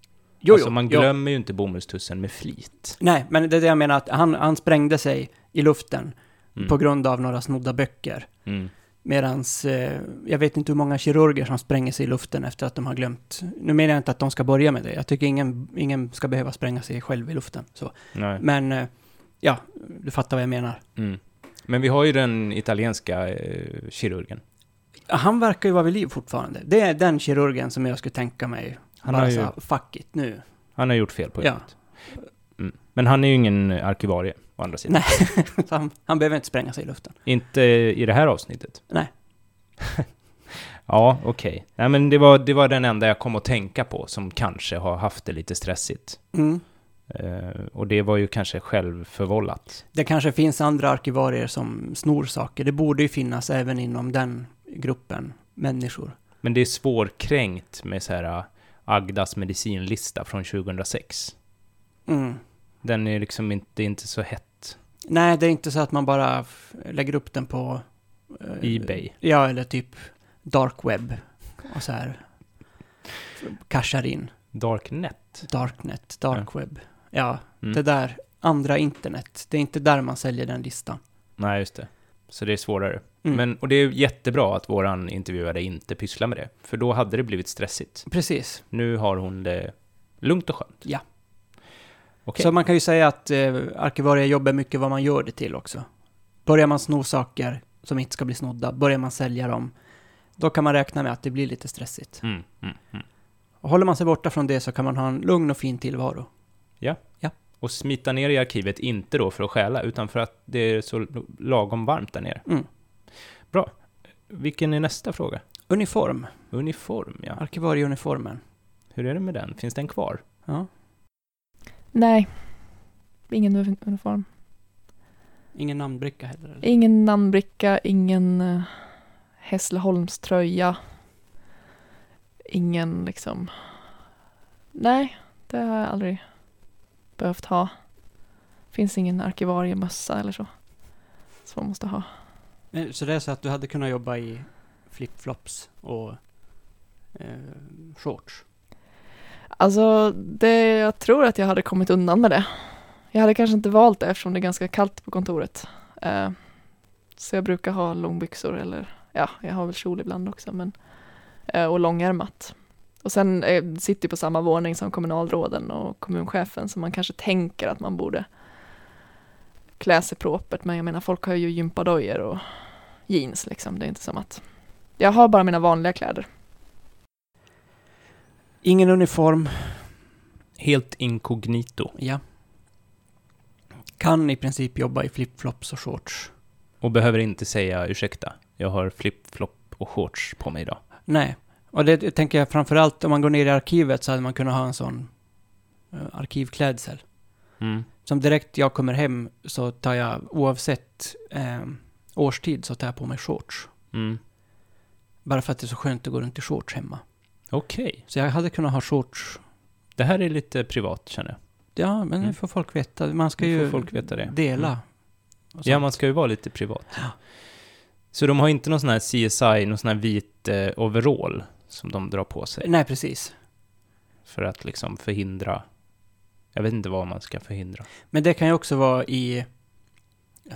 [SPEAKER 1] Jo,
[SPEAKER 2] alltså
[SPEAKER 1] jo,
[SPEAKER 2] man
[SPEAKER 1] jo.
[SPEAKER 2] glömmer ju inte bomullstussen med flit.
[SPEAKER 1] Nej, men det är det jag menar, att han, han sprängde sig i luften
[SPEAKER 2] Mm.
[SPEAKER 1] på grund av några snodda böcker.
[SPEAKER 2] Mm.
[SPEAKER 1] Medans, eh, jag vet inte hur många kirurger som spränger sig i luften efter att de har glömt. Nu menar jag inte att de ska börja med det. Jag tycker ingen, ingen ska behöva spränga sig själv i luften. Så.
[SPEAKER 2] Nej.
[SPEAKER 1] Men, eh, ja, du fattar vad jag menar.
[SPEAKER 2] Mm. Men vi har ju den italienska eh, kirurgen.
[SPEAKER 1] Han verkar ju vara vid liv fortfarande. Det är den kirurgen som jag skulle tänka mig.
[SPEAKER 2] Han
[SPEAKER 1] bara
[SPEAKER 2] har ju-
[SPEAKER 1] så här, fuck it, nu.
[SPEAKER 2] Han har gjort fel på
[SPEAKER 1] Ja.
[SPEAKER 2] jobbet. Mm. Men han är ju ingen arkivarie, å andra sidan.
[SPEAKER 1] Nej. Så han, han behöver inte spränga sig i luften.
[SPEAKER 2] Inte i det här avsnittet.
[SPEAKER 1] Nej.
[SPEAKER 2] ja, okej. Nej, men det var, det var den enda jag kom att tänka på som kanske har haft det lite stressigt.
[SPEAKER 1] Mm.
[SPEAKER 2] Eh, och det var ju kanske självförvållat.
[SPEAKER 1] Det kanske finns andra arkivarier som snor saker. Det borde ju finnas även inom den gruppen människor.
[SPEAKER 2] Men det är svårkränkt med så här, ja Agdas medicinlista från 2006.
[SPEAKER 1] Mm.
[SPEAKER 2] Den är liksom inte, det är inte så hett.
[SPEAKER 1] Nej, det är inte så att man bara f- lägger upp den på... eh,
[SPEAKER 2] Ebay.
[SPEAKER 1] Ja, eller typ dark web och så här. Cashar in.
[SPEAKER 2] Darknet.
[SPEAKER 1] Darknet, dark web. Ja,
[SPEAKER 2] Mm.
[SPEAKER 1] det där andra internet. Det är inte där man säljer den listan.
[SPEAKER 2] Nej, just det. Så det är svårare.
[SPEAKER 1] Mm.
[SPEAKER 2] Men, och det är jättebra att våran intervjuare inte pysslar med det. För då hade det blivit stressigt.
[SPEAKER 1] Precis.
[SPEAKER 2] Nu har hon det lugnt och skönt.
[SPEAKER 1] Ja.
[SPEAKER 2] Okej.
[SPEAKER 1] Så man kan ju säga att eh, arkivariejobben är mycket vad man gör det till också. Börjar man sno saker som inte ska bli snodda, börjar man sälja dem, då kan man räkna med att det blir lite stressigt.
[SPEAKER 2] Mm, mm, mm.
[SPEAKER 1] Och håller man sig borta från det så kan man ha en lugn och fin tillvaro.
[SPEAKER 2] Och smita ner i arkivet, inte då för att stjäla, utan för att det är så lagom varmt där nere.
[SPEAKER 1] Mm.
[SPEAKER 2] Bra. Vilken är nästa fråga?
[SPEAKER 1] Uniform,
[SPEAKER 2] Uniform, ja.
[SPEAKER 1] arkivarieuniformen.
[SPEAKER 2] Hur är det med den? Finns den kvar?
[SPEAKER 1] Ja.
[SPEAKER 3] Nej. Ingen uni- uniform.
[SPEAKER 1] Ingen namnbricka heller? Eller?
[SPEAKER 3] Ingen namnbricka, ingen eh, Hässleholmströja. Ingen liksom... Nej, det har jag aldrig behövt ha. Finns ingen arkivariemössa eller så. Som man måste ha.
[SPEAKER 1] Eh, Så det är så att du hade kunnat jobba i flipflops och eh, shorts?
[SPEAKER 3] Alltså, det, jag tror att jag hade kommit undan med det. Jag hade kanske inte valt det eftersom det är ganska kallt på kontoret. Eh, så jag brukar ha långbyxor eller, ja, jag har väl kjol ibland också, men, eh, och långärmat. Och sen eh, sitter jag på samma våning som kommunalråden och kommunchefen, så man kanske tänker att man borde klä sig propert, men jag menar folk har ju gympadojor och jeans liksom, det är inte som att... Jag har bara mina vanliga kläder.
[SPEAKER 1] Ingen uniform,
[SPEAKER 2] Helt inkognito.
[SPEAKER 1] ja. Kan i princip jobba i flipflops och shorts.
[SPEAKER 2] Och behöver inte säga ursäkta, jag har flip-flop och shorts på mig idag.
[SPEAKER 1] Nej, och det det tänker jag framförallt om man går ner i arkivet så hade man kunnat ha en sån eh, arkivklädsel.
[SPEAKER 2] Mm.
[SPEAKER 1] Som direkt jag kommer hem så tar jag oavsett eh, årstid så tar jag på mig shorts.
[SPEAKER 2] Mm.
[SPEAKER 1] Bara för att det är så skönt att gå runt i shorts hemma.
[SPEAKER 2] Okej,
[SPEAKER 1] Så jag hade kunnat ha shorts.
[SPEAKER 2] det här är lite privat känner jag.
[SPEAKER 1] Ja, men nu
[SPEAKER 2] Mm.
[SPEAKER 1] får folk veta. Man ska
[SPEAKER 2] Nu
[SPEAKER 1] ju
[SPEAKER 2] får folk veta det.
[SPEAKER 1] dela. och
[SPEAKER 2] Ja,
[SPEAKER 1] sånt.
[SPEAKER 2] man ska ju vara lite privat. Så de har inte någon sån här CSI, någon sån här vit eh, overall som de drar på sig
[SPEAKER 1] Nej, precis.
[SPEAKER 2] för att liksom förhindra... Jag vet inte vad man ska förhindra.
[SPEAKER 1] Men det kan ju också vara i,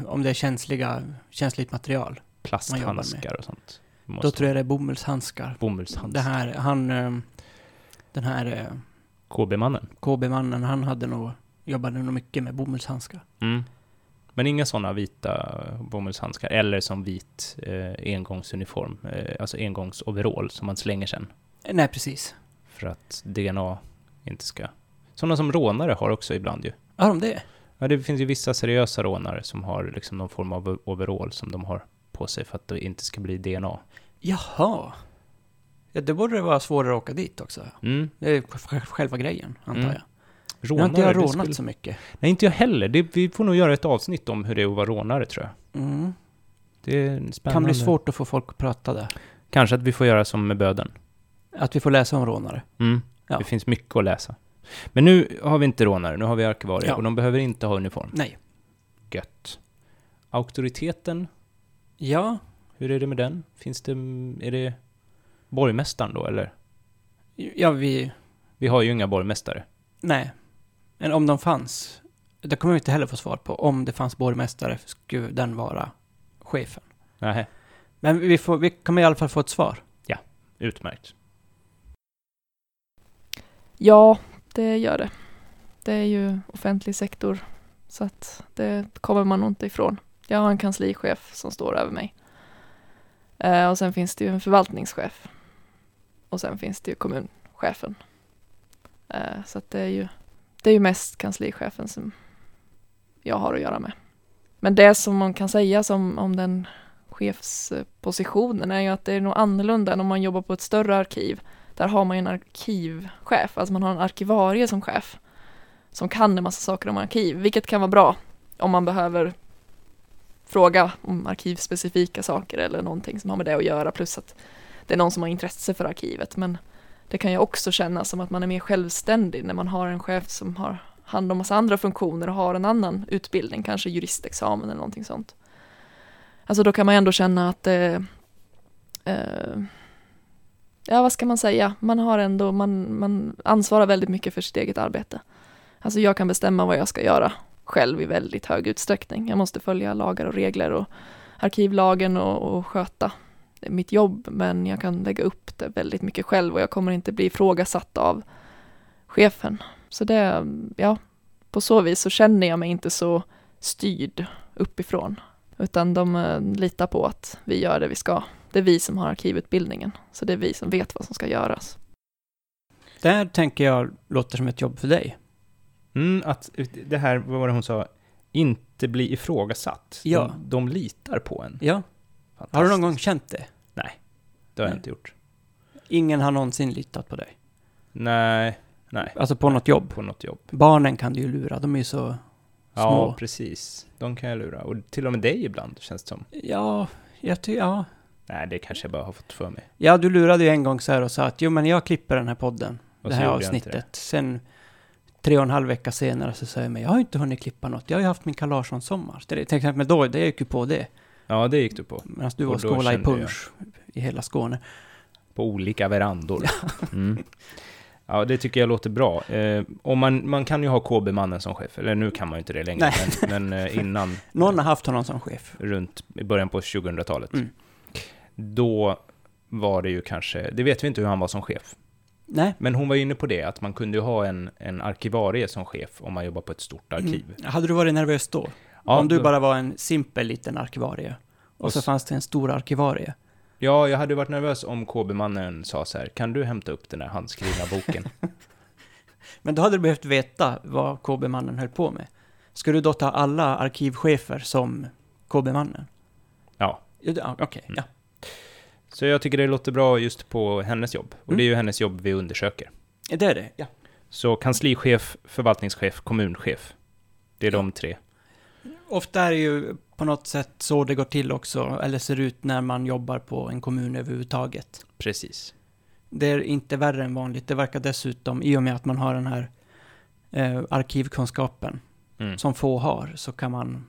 [SPEAKER 1] om det är känsliga, känsligt material.
[SPEAKER 2] Plasthandskar och sånt. Man
[SPEAKER 1] Då
[SPEAKER 2] Måste
[SPEAKER 1] tror jag det är bomullshandskar. Det
[SPEAKER 2] Bomullshandskar.
[SPEAKER 1] här, han, eh, den här eh,
[SPEAKER 2] KB-mannen.
[SPEAKER 1] KB-mannen, han hade nog, jobbade nog mycket med bomullshandskar.
[SPEAKER 2] Mm. Men inga sådana vita bomullshandskar, eller som vit eh, engångsuniform, eh, alltså engångsoverall som man slänger sen
[SPEAKER 1] Eh, Nej, precis.
[SPEAKER 2] för att DNA inte ska... Sådana som rånare har också ibland ju.
[SPEAKER 1] Har de det?
[SPEAKER 2] Ja, det finns ju vissa seriösa rånare som har liksom någon form av overall som de har på sig för att det inte ska bli DNA.
[SPEAKER 1] Jaha. Ja, då borde det vara svårare att åka dit också.
[SPEAKER 2] Mm.
[SPEAKER 1] Det är sj- själva grejen, antar
[SPEAKER 2] Mm.
[SPEAKER 1] jag. Nu
[SPEAKER 2] Rånare,
[SPEAKER 1] har inte jag
[SPEAKER 2] det
[SPEAKER 1] rånat
[SPEAKER 2] skulle-
[SPEAKER 1] så mycket.
[SPEAKER 2] Nej, inte jag heller. Det, vi får nog göra ett avsnitt om hur det är att vara rånare, tror jag.
[SPEAKER 1] Mm.
[SPEAKER 2] Det är spännande.
[SPEAKER 1] Kan bli svårt att få folk att prata där.
[SPEAKER 2] Kanske att vi får göra som med böden.
[SPEAKER 1] Att vi får läsa om rånare.
[SPEAKER 2] Mm.
[SPEAKER 1] Ja.
[SPEAKER 2] Det finns mycket att läsa. Men nu har vi inte rånare, nu har vi arkivarier
[SPEAKER 1] Ja.
[SPEAKER 2] och de behöver inte ha uniform.
[SPEAKER 1] Nej.
[SPEAKER 2] Gött. Auktoriteten,
[SPEAKER 1] Ja,
[SPEAKER 2] hur är det med den? Finns det, är det borgmästaren då eller?
[SPEAKER 1] ja vi...
[SPEAKER 2] Vi har ju inga borgmästare.
[SPEAKER 1] Nej. Men om de fanns, det kommer vi inte heller få svar på. Om det fanns borgmästare skulle den vara chefen.
[SPEAKER 2] Nej,
[SPEAKER 1] Men vi, får, vi kommer i alla fall få ett svar.
[SPEAKER 2] utmärkt.
[SPEAKER 3] Ja, det gör det. Det är ju offentlig sektor, så att det kommer man nog inte ifrån. Jag har en kanslichef som står över mig. Eh, och sen finns det ju en förvaltningschef. Och sen finns det ju kommunchefen. Eh, så att det är ju, det är ju mest kanslichefen som jag har att göra med. Men det som man kan säga som, om den chefspositionen är ju att det är nog annorlunda än om man jobbar på ett större arkiv där har man ju en arkivchef, alltså man har en arkivarie som chef som kan en massa saker om arkiv, vilket kan vara bra om man behöver fråga om arkivspecifika saker eller någonting som har med det att göra plus att det är någon som har intresse för arkivet men det kan ju också kännas som att man är mer självständig när man har en chef som har hand om massa andra funktioner och har en annan utbildning, kanske juristexamen eller någonting sånt. Alltså då kan man ändå känna att det, eh, ja vad ska man säga, man har ändå, man, man ansvarar väldigt mycket för sitt eget arbete. Alltså jag kan bestämma vad jag ska göra själv i väldigt hög utsträckning. Jag måste följa lagar och regler och arkivlagen och, och sköta mitt jobb, men jag kan lägga upp det väldigt mycket själv och jag kommer inte bli ifrågasatt av chefen. Så det, ja, på så vis så känner jag mig inte så styrd uppifrån, utan de eh, litar på att vi gör det vi ska. Det är vi som har arkivutbildningen, så det är vi som vet vad som ska göras.
[SPEAKER 1] Det här tänker jag låter som ett jobb för dig.
[SPEAKER 2] Mm, att det här, vad var det hon sa? Inte bli ifrågasatt.
[SPEAKER 1] Ja.
[SPEAKER 2] De, de litar på en.
[SPEAKER 1] Ja. Har du någon gång känt det?
[SPEAKER 2] Det har jag
[SPEAKER 1] Nej.
[SPEAKER 2] inte gjort.
[SPEAKER 1] Ingen har någonsin litat på dig.
[SPEAKER 2] Nej, nej.
[SPEAKER 1] Alltså på något jobb.
[SPEAKER 2] På något jobb.
[SPEAKER 1] Barnen kan du ju lura, de är ju så...
[SPEAKER 2] Ja,
[SPEAKER 1] Små.
[SPEAKER 2] precis. De kan jag lura. Och till och med dig ibland, känns det som.
[SPEAKER 1] Ja, jag tycker... Ja.
[SPEAKER 2] Nej, det kanske jag bara har fått för mig.
[SPEAKER 1] ja, du lurade ju en gång så här och sa att jo, men jag klipper den här podden,
[SPEAKER 2] Och
[SPEAKER 1] det
[SPEAKER 2] så
[SPEAKER 1] här
[SPEAKER 2] gjorde jag inte
[SPEAKER 1] avsnittet. Sen tre och en halv vecka senare så säger jag mig, jag har inte hunnit klippa något, jag har ju haft min Karl-Larsson-sommar. Det är- Till exempel då, det gick ju på det.
[SPEAKER 2] det. Ja, det gick du på.
[SPEAKER 1] Medan du
[SPEAKER 2] Och
[SPEAKER 1] var och
[SPEAKER 2] då
[SPEAKER 1] skålade i
[SPEAKER 2] kände jag-
[SPEAKER 1] punsch i hela Skåne.
[SPEAKER 2] På olika verandor. Mm. Ja, det tycker jag låter bra. Eh, om man, man kan ju ha KB-mannen som chef, eller nu kan man ju inte det längre, men, men eh, innan,
[SPEAKER 1] Någon har haft honom som chef.
[SPEAKER 2] runt i början på 2000-talet,
[SPEAKER 1] Mm.
[SPEAKER 2] då var det ju kanske, det vet vi inte hur han var som chef,
[SPEAKER 1] Nej.
[SPEAKER 2] men hon var ju inne på det, att man kunde ju ha en, en arkivarie som chef om man jobbar på ett stort arkiv.
[SPEAKER 1] Mm. Hade du varit nervös då?
[SPEAKER 2] Ja,
[SPEAKER 1] Om du
[SPEAKER 2] då-
[SPEAKER 1] bara var en simpel liten arkivarie. Och,
[SPEAKER 2] Och
[SPEAKER 1] så
[SPEAKER 2] s-
[SPEAKER 1] fanns det en stor arkivarie.
[SPEAKER 2] Ja, jag hade ju varit nervös om KB-mannen sa så här, kan du hämta upp den där handskrivna boken?
[SPEAKER 1] Men då hade du behövt veta vad KB-mannen höll på med. Ska du då ta alla arkivchefer som KB-mannen?
[SPEAKER 2] Ja.
[SPEAKER 1] Jo, det- ja, Okej,
[SPEAKER 2] Mm.
[SPEAKER 1] ja.
[SPEAKER 2] Så jag tycker det låter bra just på hennes jobb, och
[SPEAKER 1] Mm.
[SPEAKER 2] det är ju hennes jobb vi undersöker.
[SPEAKER 1] Det är det, ja.
[SPEAKER 2] Så kanslichef, förvaltningschef, kommunchef. Det är de tre.
[SPEAKER 1] Ofta är det ju på något sätt så det går till också, eller ser ut när man jobbar på en kommun överhuvudtaget.
[SPEAKER 2] Precis.
[SPEAKER 1] Det är inte värre än vanligt. Det verkar dessutom, i och med att man har den här eh, arkivkunskapen
[SPEAKER 2] Mm.
[SPEAKER 1] som få har, så kan man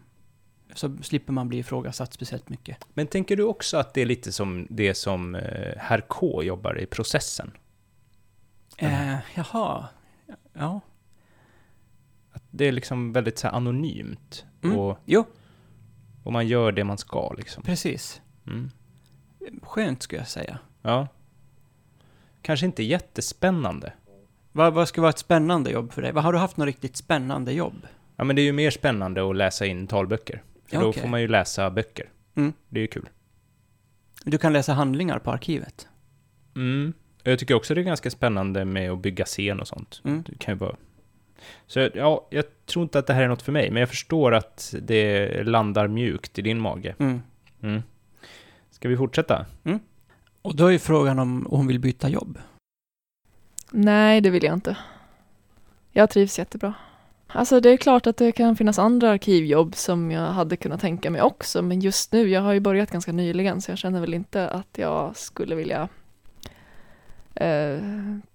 [SPEAKER 1] så slipper man bli ifrågasatt speciellt mycket.
[SPEAKER 2] Men tänker du också att det är lite som det som eh, herr K jobbar i processen?
[SPEAKER 1] Eh, jaha. Ja.
[SPEAKER 2] Att det är liksom väldigt så här anonymt
[SPEAKER 1] Mm.
[SPEAKER 2] och,
[SPEAKER 1] Jo,
[SPEAKER 2] och man gör det man ska liksom.
[SPEAKER 1] precis.
[SPEAKER 2] Mm.
[SPEAKER 1] Skönt skulle jag säga.
[SPEAKER 2] Ja. Kanske inte jättespännande.
[SPEAKER 1] Vad, vad ska vara ett spännande jobb för dig? Vad, har du haft något riktigt spännande jobb?
[SPEAKER 2] Ja, men det är ju mer spännande att läsa in talböcker. För
[SPEAKER 1] Ja,
[SPEAKER 2] då
[SPEAKER 1] okej.
[SPEAKER 2] får man ju läsa böcker.
[SPEAKER 1] Mm.
[SPEAKER 2] Det är ju kul.
[SPEAKER 1] Du kan läsa handlingar på arkivet.
[SPEAKER 2] Mm. Och Jag tycker också det är ganska spännande med att bygga scen och sånt.
[SPEAKER 1] Mm.
[SPEAKER 2] Det kan ju vara... Så ja, jag tror inte att det här är något för mig, men jag förstår att det landar mjukt i din mage.
[SPEAKER 1] Mm.
[SPEAKER 2] Mm. Ska vi fortsätta?
[SPEAKER 1] Och då är ju frågan om hon vill byta jobb.
[SPEAKER 3] Nej, det vill jag inte. Jag trivs jättebra. Alltså det är klart att det kan finnas andra arkivjobb som jag hade kunnat tänka mig också, men just nu, jag har ju börjat ganska nyligen, så jag känner väl inte att jag skulle vilja eh,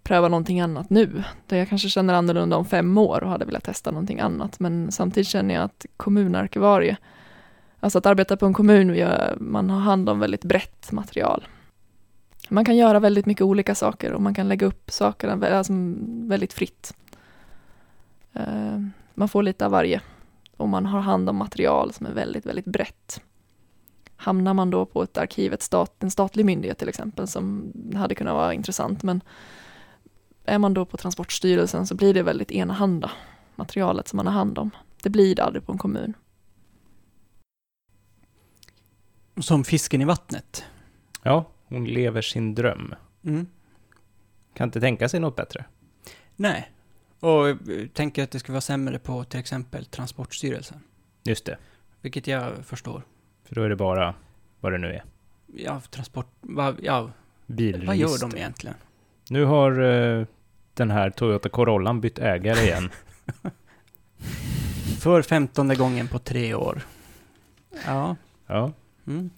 [SPEAKER 3] pröva någonting annat nu. Det jag kanske känner annorlunda om fem år och hade velat testa någonting annat, men samtidigt känner jag att kommunarkivarie, alltså att arbeta på en kommun, gör- man har hand om väldigt brett material. Man kan göra väldigt mycket olika saker och man kan lägga upp sakerna vä- alltså, väldigt fritt. Eh, Man får lite av varje och man har hand om material som är väldigt, väldigt brett. Hamnar man då på ett arkiv, ett stat, en statlig myndighet till exempel, som hade kunnat vara intressant, men är man då på Transportstyrelsen så blir det väldigt enahanda, materialet som man har hand om. Det blir det aldrig på en kommun.
[SPEAKER 1] Som fisken i vattnet.
[SPEAKER 2] Ja, hon lever sin dröm.
[SPEAKER 1] Mm.
[SPEAKER 2] Kan inte tänka sig något bättre.
[SPEAKER 1] Nej. Och eh, tänker att det skulle vara sämre på till exempel Transportstyrelsen.
[SPEAKER 2] Just det,
[SPEAKER 1] Vilket jag förstår.
[SPEAKER 2] för då är det bara vad det nu är.
[SPEAKER 1] Ja, transport... Va, ja,
[SPEAKER 2] Bilregister.
[SPEAKER 1] vad gör de egentligen?
[SPEAKER 2] Nu har eh, den här Toyota Corollan bytt ägare igen.
[SPEAKER 1] För femtonde gången på tre år. Ja.
[SPEAKER 2] ja.
[SPEAKER 1] Mm.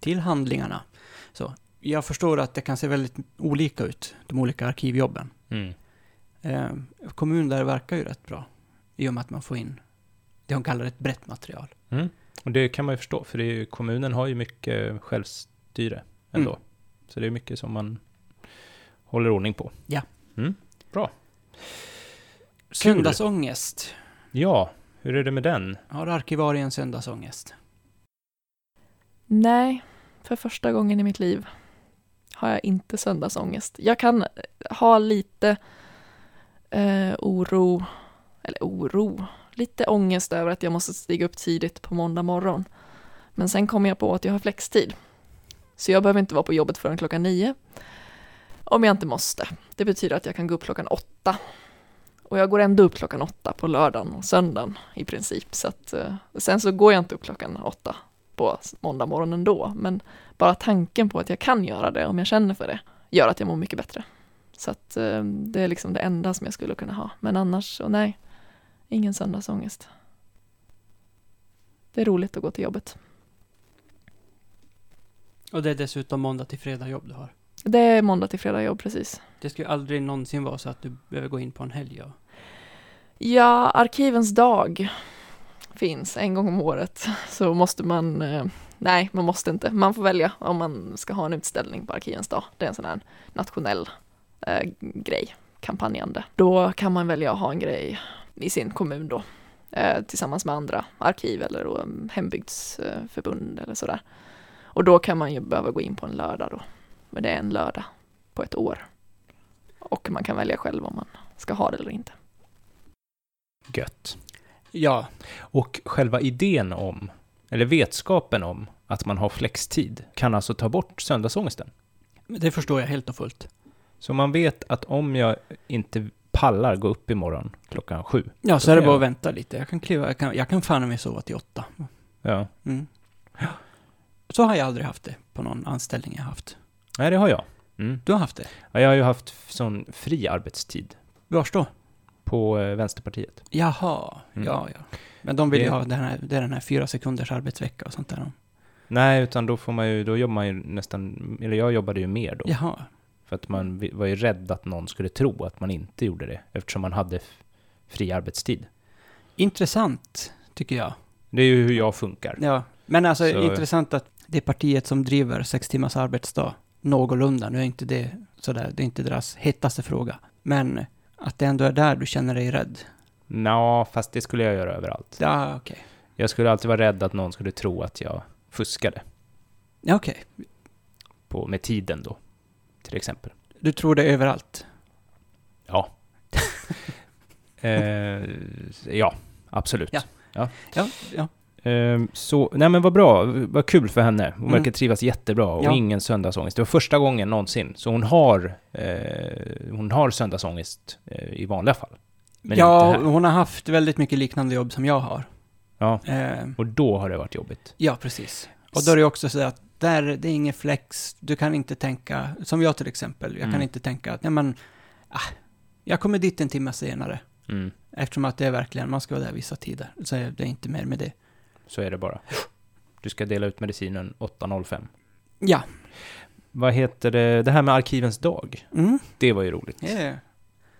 [SPEAKER 1] Till handlingarna. Så. jag förstår att det kan se väldigt olika ut, de olika arkivjobben.
[SPEAKER 2] Mm.
[SPEAKER 1] Eh, kommunen där verkar ju rätt bra, i och med att man får in det hon kallar ett brett material.
[SPEAKER 2] Mm. Och det kan man ju förstå, för det är ju, kommunen har ju mycket självstyre ändå.
[SPEAKER 1] Mm.
[SPEAKER 2] Så det är mycket som man håller ordning på.
[SPEAKER 1] Ja.
[SPEAKER 2] Mm. Bra. Kul.
[SPEAKER 1] Söndagsångest.
[SPEAKER 2] Ja, hur är det med den?
[SPEAKER 1] Har arkivarien söndagsångest?
[SPEAKER 3] Nej, för första gången i mitt liv har jag inte söndagsångest. Jag kan ha lite eh, oro, eller oro, lite ångest över att jag måste stiga upp tidigt på måndag morgon. Men sen kommer jag på att jag har flextid. Så jag behöver inte vara på jobbet förrän klockan nio. Om jag inte måste. Det betyder att jag kan gå upp klockan åtta. Och jag går ändå upp klockan åtta på lördagen och söndagen i princip. Så att, eh, sen så går jag inte upp klockan åtta på måndag morgon ändå, men bara tanken på att jag kan göra det om jag känner för det gör att jag mår mycket bättre. Så att eh, det är liksom det enda som jag skulle kunna ha, men annars, så nej, ingen söndagsångest. Det är roligt att gå till jobbet.
[SPEAKER 1] Och det är dessutom måndag till fredag jobb du har.
[SPEAKER 3] Det är måndag till fredag jobb precis.
[SPEAKER 1] Det ska ju aldrig någonsin vara så att du behöver gå in på en helg och
[SPEAKER 3] Ja, Arkivens dag finns en gång om året. Så måste man, eh, nej man måste inte, man får välja om man ska ha en utställning på Arkivens dag. Det är en sån här nationell eh, grej, kampanjande. Då kan man välja att ha en grej i sin kommun då, eh, tillsammans med andra arkiv eller då, mm, hembygdsförbund eller sådär. Och då kan man ju behöva gå in på en lördag då, men det är en lördag på ett år. Och man kan välja själv om man ska ha det eller inte.
[SPEAKER 2] Gött.
[SPEAKER 1] Ja,
[SPEAKER 2] Och själva idén om, eller vetskapen om, att man har flextid kan alltså ta bort söndagsångesten.
[SPEAKER 1] det förstår jag helt och fullt.
[SPEAKER 2] Så man vet att om jag inte pallar gå upp imorgon klockan sju,
[SPEAKER 1] Ja,
[SPEAKER 2] så
[SPEAKER 1] så
[SPEAKER 2] är
[SPEAKER 1] är
[SPEAKER 2] kan
[SPEAKER 1] det
[SPEAKER 2] det bara
[SPEAKER 1] bara
[SPEAKER 2] jag-
[SPEAKER 1] att
[SPEAKER 2] att
[SPEAKER 1] vänta lite. Jag kan kliva, jag kan, jag kan fan mig sova till åtta.
[SPEAKER 2] ja.
[SPEAKER 1] Mm. Så har jag aldrig haft det på någon anställning jag haft.
[SPEAKER 2] Nej, det har jag. Mm.
[SPEAKER 1] Du har haft det?
[SPEAKER 2] Ja, jag har ju haft f- sån fri arbetstid
[SPEAKER 1] Vars då?
[SPEAKER 2] på eh, Vänsterpartiet.
[SPEAKER 1] Jaha,
[SPEAKER 2] Mm.
[SPEAKER 1] ja, ja. Men de vill ju
[SPEAKER 2] Det-
[SPEAKER 1] ha den här, det är den här fyra sekunders arbetsvecka och sånt där.
[SPEAKER 2] Nej, utan då får man ju, då jobbar man ju nästan, eller jag jobbade ju mer då.
[SPEAKER 1] Jaha,
[SPEAKER 2] För att man vi- var ju rädd att någon skulle tro att man inte gjorde det, eftersom man hade f- fri arbetstid.
[SPEAKER 1] intressant tycker jag.
[SPEAKER 2] Det är ju hur jag funkar.
[SPEAKER 1] Ja, men alltså
[SPEAKER 2] Så-
[SPEAKER 1] intressant att det partiet som driver sex timmars arbetsdag någorlunda, nu är inte det sådär, det är inte deras hetaste fråga, men att det ändå är där du känner dig rädd.
[SPEAKER 2] Nå, fast det skulle jag göra överallt.
[SPEAKER 1] Ja, okej.
[SPEAKER 2] Jag skulle alltid vara rädd att någon skulle tro att jag fuskade
[SPEAKER 1] Ja, okej.
[SPEAKER 2] på, med tiden då, till exempel.
[SPEAKER 1] Du tror det överallt.
[SPEAKER 2] Ja. eh, ja, absolut.
[SPEAKER 1] Ja. Ja, ja.
[SPEAKER 2] Ehm, Så, nej men vad bra, vad kul för henne. Hon
[SPEAKER 1] Mm.
[SPEAKER 2] verkar trivas jättebra och
[SPEAKER 1] Ja.
[SPEAKER 2] ingen söndagsångest. Det var första gången någonsin, så hon har, eh, hon har söndagsångest eh, i vanliga fall. Men
[SPEAKER 1] ja,
[SPEAKER 2] inte här.
[SPEAKER 1] hon har haft väldigt mycket liknande jobb som jag har.
[SPEAKER 2] Ja,
[SPEAKER 1] Eh,
[SPEAKER 2] och då har det varit jobbigt.
[SPEAKER 1] ja, precis. Och då är det också så att där, det är ingen flex, du kan inte tänka, som jag till exempel, jag
[SPEAKER 2] Mm.
[SPEAKER 1] kan inte tänka att, nej men, ah, jag kommer dit en timme senare.
[SPEAKER 2] Mm,
[SPEAKER 1] Eftersom att det är verkligen, man ska vara där vissa tider. Så är det inte mer med det.
[SPEAKER 2] så är det bara. Du ska dela ut medicinen 8.05.
[SPEAKER 1] Ja.
[SPEAKER 2] Vad heter det, det här med arkivens dag?
[SPEAKER 1] Mm.
[SPEAKER 2] Det var ju roligt.
[SPEAKER 1] Ja, ja.
[SPEAKER 2] Ja, alltså.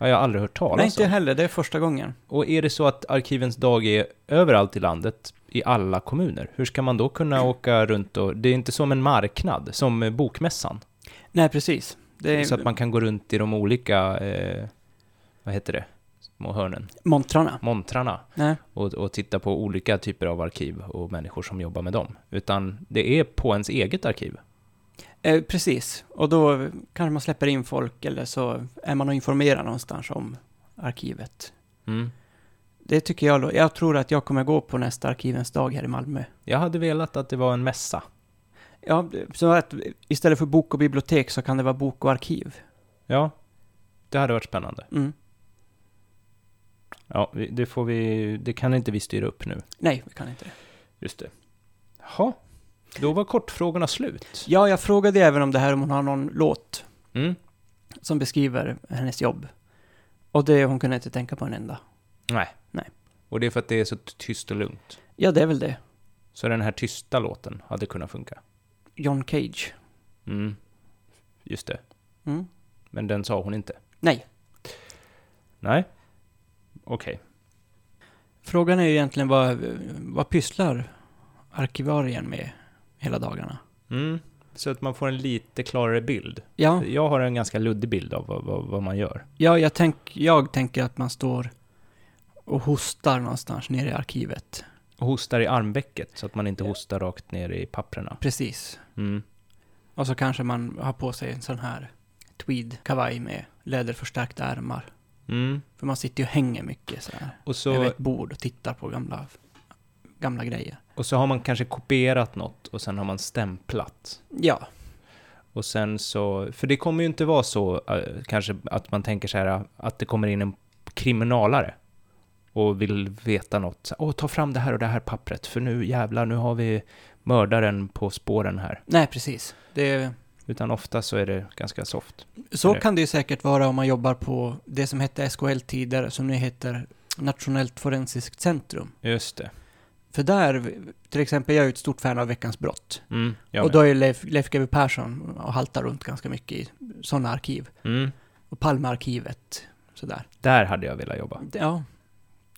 [SPEAKER 2] jag har aldrig hört
[SPEAKER 1] Nej,
[SPEAKER 2] talas
[SPEAKER 1] inte jag
[SPEAKER 2] om.
[SPEAKER 1] heller, det är första gången.
[SPEAKER 2] Och är det så att arkivens dag är överallt i landet, i alla kommuner, hur ska man då kunna åka runt och... Det är inte som en marknad, som eh, Bokmässan.
[SPEAKER 1] Nej, precis. Det är
[SPEAKER 2] Så att man kan gå runt i de olika, eh, vad heter det, små hörnen,
[SPEAKER 1] montrarna.
[SPEAKER 2] montrarna
[SPEAKER 1] Nej.
[SPEAKER 2] och, och titta på olika typer av arkiv och människor som jobbar med dem. Utan det är på ens eget arkiv.
[SPEAKER 1] Eh, precis, och då kanske man släpper in folk eller så är man och informerar någonstans om arkivet.
[SPEAKER 2] Mm.
[SPEAKER 1] Det tycker jag, lo- jag tror att jag kommer gå på nästa Arkivens dag här i Malmö.
[SPEAKER 2] Jag hade velat att det var en mässa.
[SPEAKER 1] Ja, så att istället för bok och bibliotek så kan det vara bok och arkiv.
[SPEAKER 2] Ja, det hade varit spännande.
[SPEAKER 1] Mm.
[SPEAKER 2] Ja, vi- det får vi, det kan inte vi styra upp nu.
[SPEAKER 1] Nej, vi kan inte det.
[SPEAKER 2] Just det. Jaha, då var kortfrågorna slut.
[SPEAKER 1] Ja, jag frågade även om det här om hon har någon låt
[SPEAKER 2] Mm.
[SPEAKER 1] som beskriver hennes jobb. Och det, hon kunde inte tänka på en enda.
[SPEAKER 2] Nej.
[SPEAKER 1] Nej.
[SPEAKER 2] Och det är för att det är så tyst och lugnt.
[SPEAKER 1] Ja, det är väl det.
[SPEAKER 2] Så den här tysta låten hade kunnat funka.
[SPEAKER 1] John Cage.
[SPEAKER 2] Mm. just det.
[SPEAKER 1] Mm.
[SPEAKER 2] Men den sa hon inte.
[SPEAKER 1] Nej.
[SPEAKER 2] Nej. Okej.
[SPEAKER 1] Frågan är ju egentligen vad, vad pysslar arkivarien med hela dagarna?
[SPEAKER 2] Mm. Så att man får en lite klarare bild.
[SPEAKER 1] Ja,
[SPEAKER 2] Jag har en ganska luddig bild av vad, vad, vad man gör.
[SPEAKER 1] ja jag, tänk, jag tänker att man står och hostar någonstans nere i arkivet.
[SPEAKER 2] Och hostar i armvecket så att man inte hostar rakt ner i papprena.
[SPEAKER 1] Precis.
[SPEAKER 2] Mm.
[SPEAKER 1] Och så kanske man har på sig en sån här tweed-kavaj med läderförstärkta ärmar.
[SPEAKER 2] Mm.
[SPEAKER 1] För man sitter ju och hänger mycket så här.
[SPEAKER 2] Och,
[SPEAKER 1] Över
[SPEAKER 2] så,
[SPEAKER 1] ett bord och tittar på gamla, gamla grejer.
[SPEAKER 2] och så har man kanske kopierat något och sen har man stämplat.
[SPEAKER 1] Ja,
[SPEAKER 2] Och sen så, för det kommer ju inte vara så eh, kanske att man tänker så här eh, att det kommer in en kriminalare och vill veta något. Så, Åh, ta fram det här och det här pappret för nu jävlar, nu har vi mördaren på spåren här.
[SPEAKER 1] nej precis. Det,
[SPEAKER 2] Utan ofta så är det ganska soft.
[SPEAKER 1] så
[SPEAKER 2] Eller-
[SPEAKER 1] kan det ju säkert vara om man jobbar på det som hette SKL tidigare, som nu heter Nationellt Forensiskt Centrum.
[SPEAKER 2] Just det.
[SPEAKER 1] För där, till exempel, jag är ju ett stort fan av Veckans Brott.
[SPEAKER 2] Mm, jag
[SPEAKER 1] och
[SPEAKER 2] med.
[SPEAKER 1] då är ju Leif, Leif GW Persson och haltar runt ganska mycket i sådana arkiv.
[SPEAKER 2] mm,
[SPEAKER 1] Och Palmearkivet, sådär.
[SPEAKER 2] där hade jag velat jobba.
[SPEAKER 1] Ja,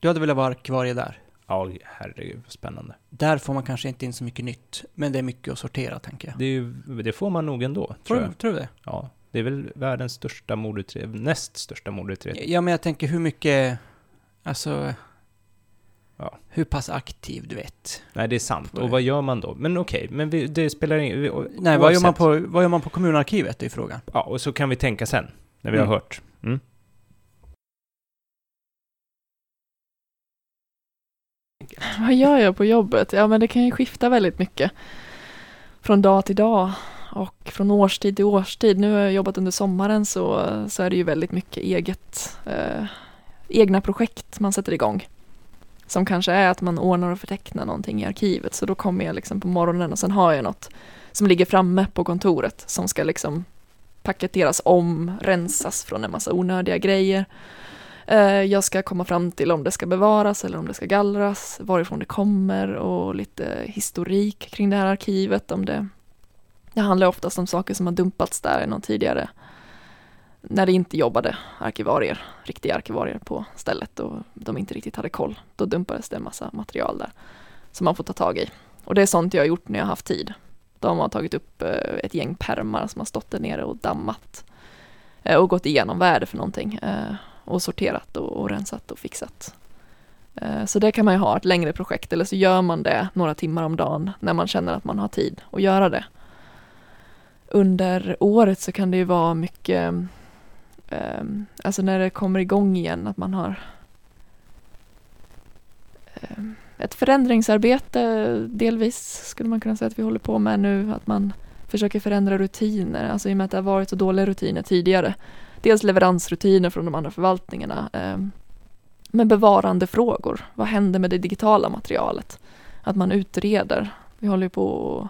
[SPEAKER 1] du hade velat vara arkivarie där.
[SPEAKER 2] Ja, herregud, vad spännande.
[SPEAKER 1] Där får man kanske inte in så mycket nytt, men det är mycket att sortera, tänker jag.
[SPEAKER 2] Det, är ju, det får man nog ändå, tror jag.
[SPEAKER 1] tror du det?
[SPEAKER 2] Ja, det är väl världens största mordutredning, näst största mordutredning.
[SPEAKER 1] Ja, men jag tänker hur mycket, alltså,
[SPEAKER 2] Ja.
[SPEAKER 1] hur pass aktiv du vet.
[SPEAKER 2] Nej, det är sant. Och vad gör man då? Men okej, men vi, det spelar ingen... vi- o-
[SPEAKER 1] Nej, vad gör, man
[SPEAKER 2] oavsett.
[SPEAKER 1] på, vad gör man på kommunarkivet, är frågan.
[SPEAKER 2] Ja, och så kan vi tänka sen, när vi
[SPEAKER 1] Mm.
[SPEAKER 2] har hört. Mm.
[SPEAKER 3] Vad gör jag på jobbet? Ja, men det kan ju skifta väldigt mycket. Från dag till dag och från årstid till årstid. Nu har jag jobbat under sommaren så, så är det ju väldigt mycket eget, eh, egna projekt man sätter igång. Som kanske är att man ordnar och förtecknar någonting i arkivet. Så då kommer jag liksom på morgonen och sen har jag något som ligger framme på kontoret som ska liksom paketeras om, rensas från en massa onödiga grejer. Eh, Jag ska komma fram till om det ska bevaras eller om det ska gallras, varifrån det kommer och lite historik kring det här arkivet. Om det. det handlar oftast om saker som har dumpats där i någon tidigare, när det inte jobbade arkivarier, riktiga arkivarier på stället och de inte riktigt hade koll. Då dumpades det en massa material där som man får ta tag i. Och det är sånt jag har gjort när jag har haft tid. De har tagit upp eh, ett gäng pärmar som har stått där nere och dammat eh, och gått igenom vad är det för någonting. Eh, och sorterat och, och rensat och fixat. Eh, Så det kan man ju ha ett längre projekt eller så gör man det några timmar om dagen när man känner att man har tid att göra det. Under året så kan det ju vara mycket, eh, alltså när det kommer igång igen att man har eh, ett förändringsarbete delvis skulle man kunna säga att vi håller på med nu, att man försöker förändra rutiner, alltså i och med att det har varit så dåliga rutiner tidigare dels leveransrutiner från de andra förvaltningarna, eh, men bevarandefrågor. Vad händer med det digitala materialet? Att man utreder. Vi håller ju på och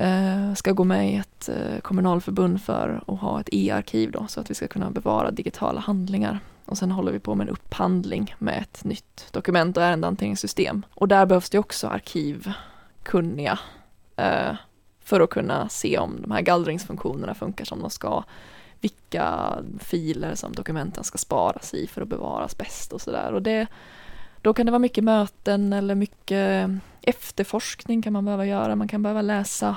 [SPEAKER 3] eh, ska gå med i ett eh, kommunalförbund för att ha ett e-arkiv då, så att vi ska kunna bevara digitala handlingar. Och sen håller vi på med en upphandling med ett nytt dokument och ärendehanteringssystem. Och där behövs det också arkivkunniga eh, för att kunna se om de här gallringsfunktionerna funkar som de ska vilka filer som dokumenten ska sparas i för att bevaras bäst och sådär. Och det, då kan det vara mycket möten eller mycket eh, efterforskning kan man behöva göra. Man kan behöva läsa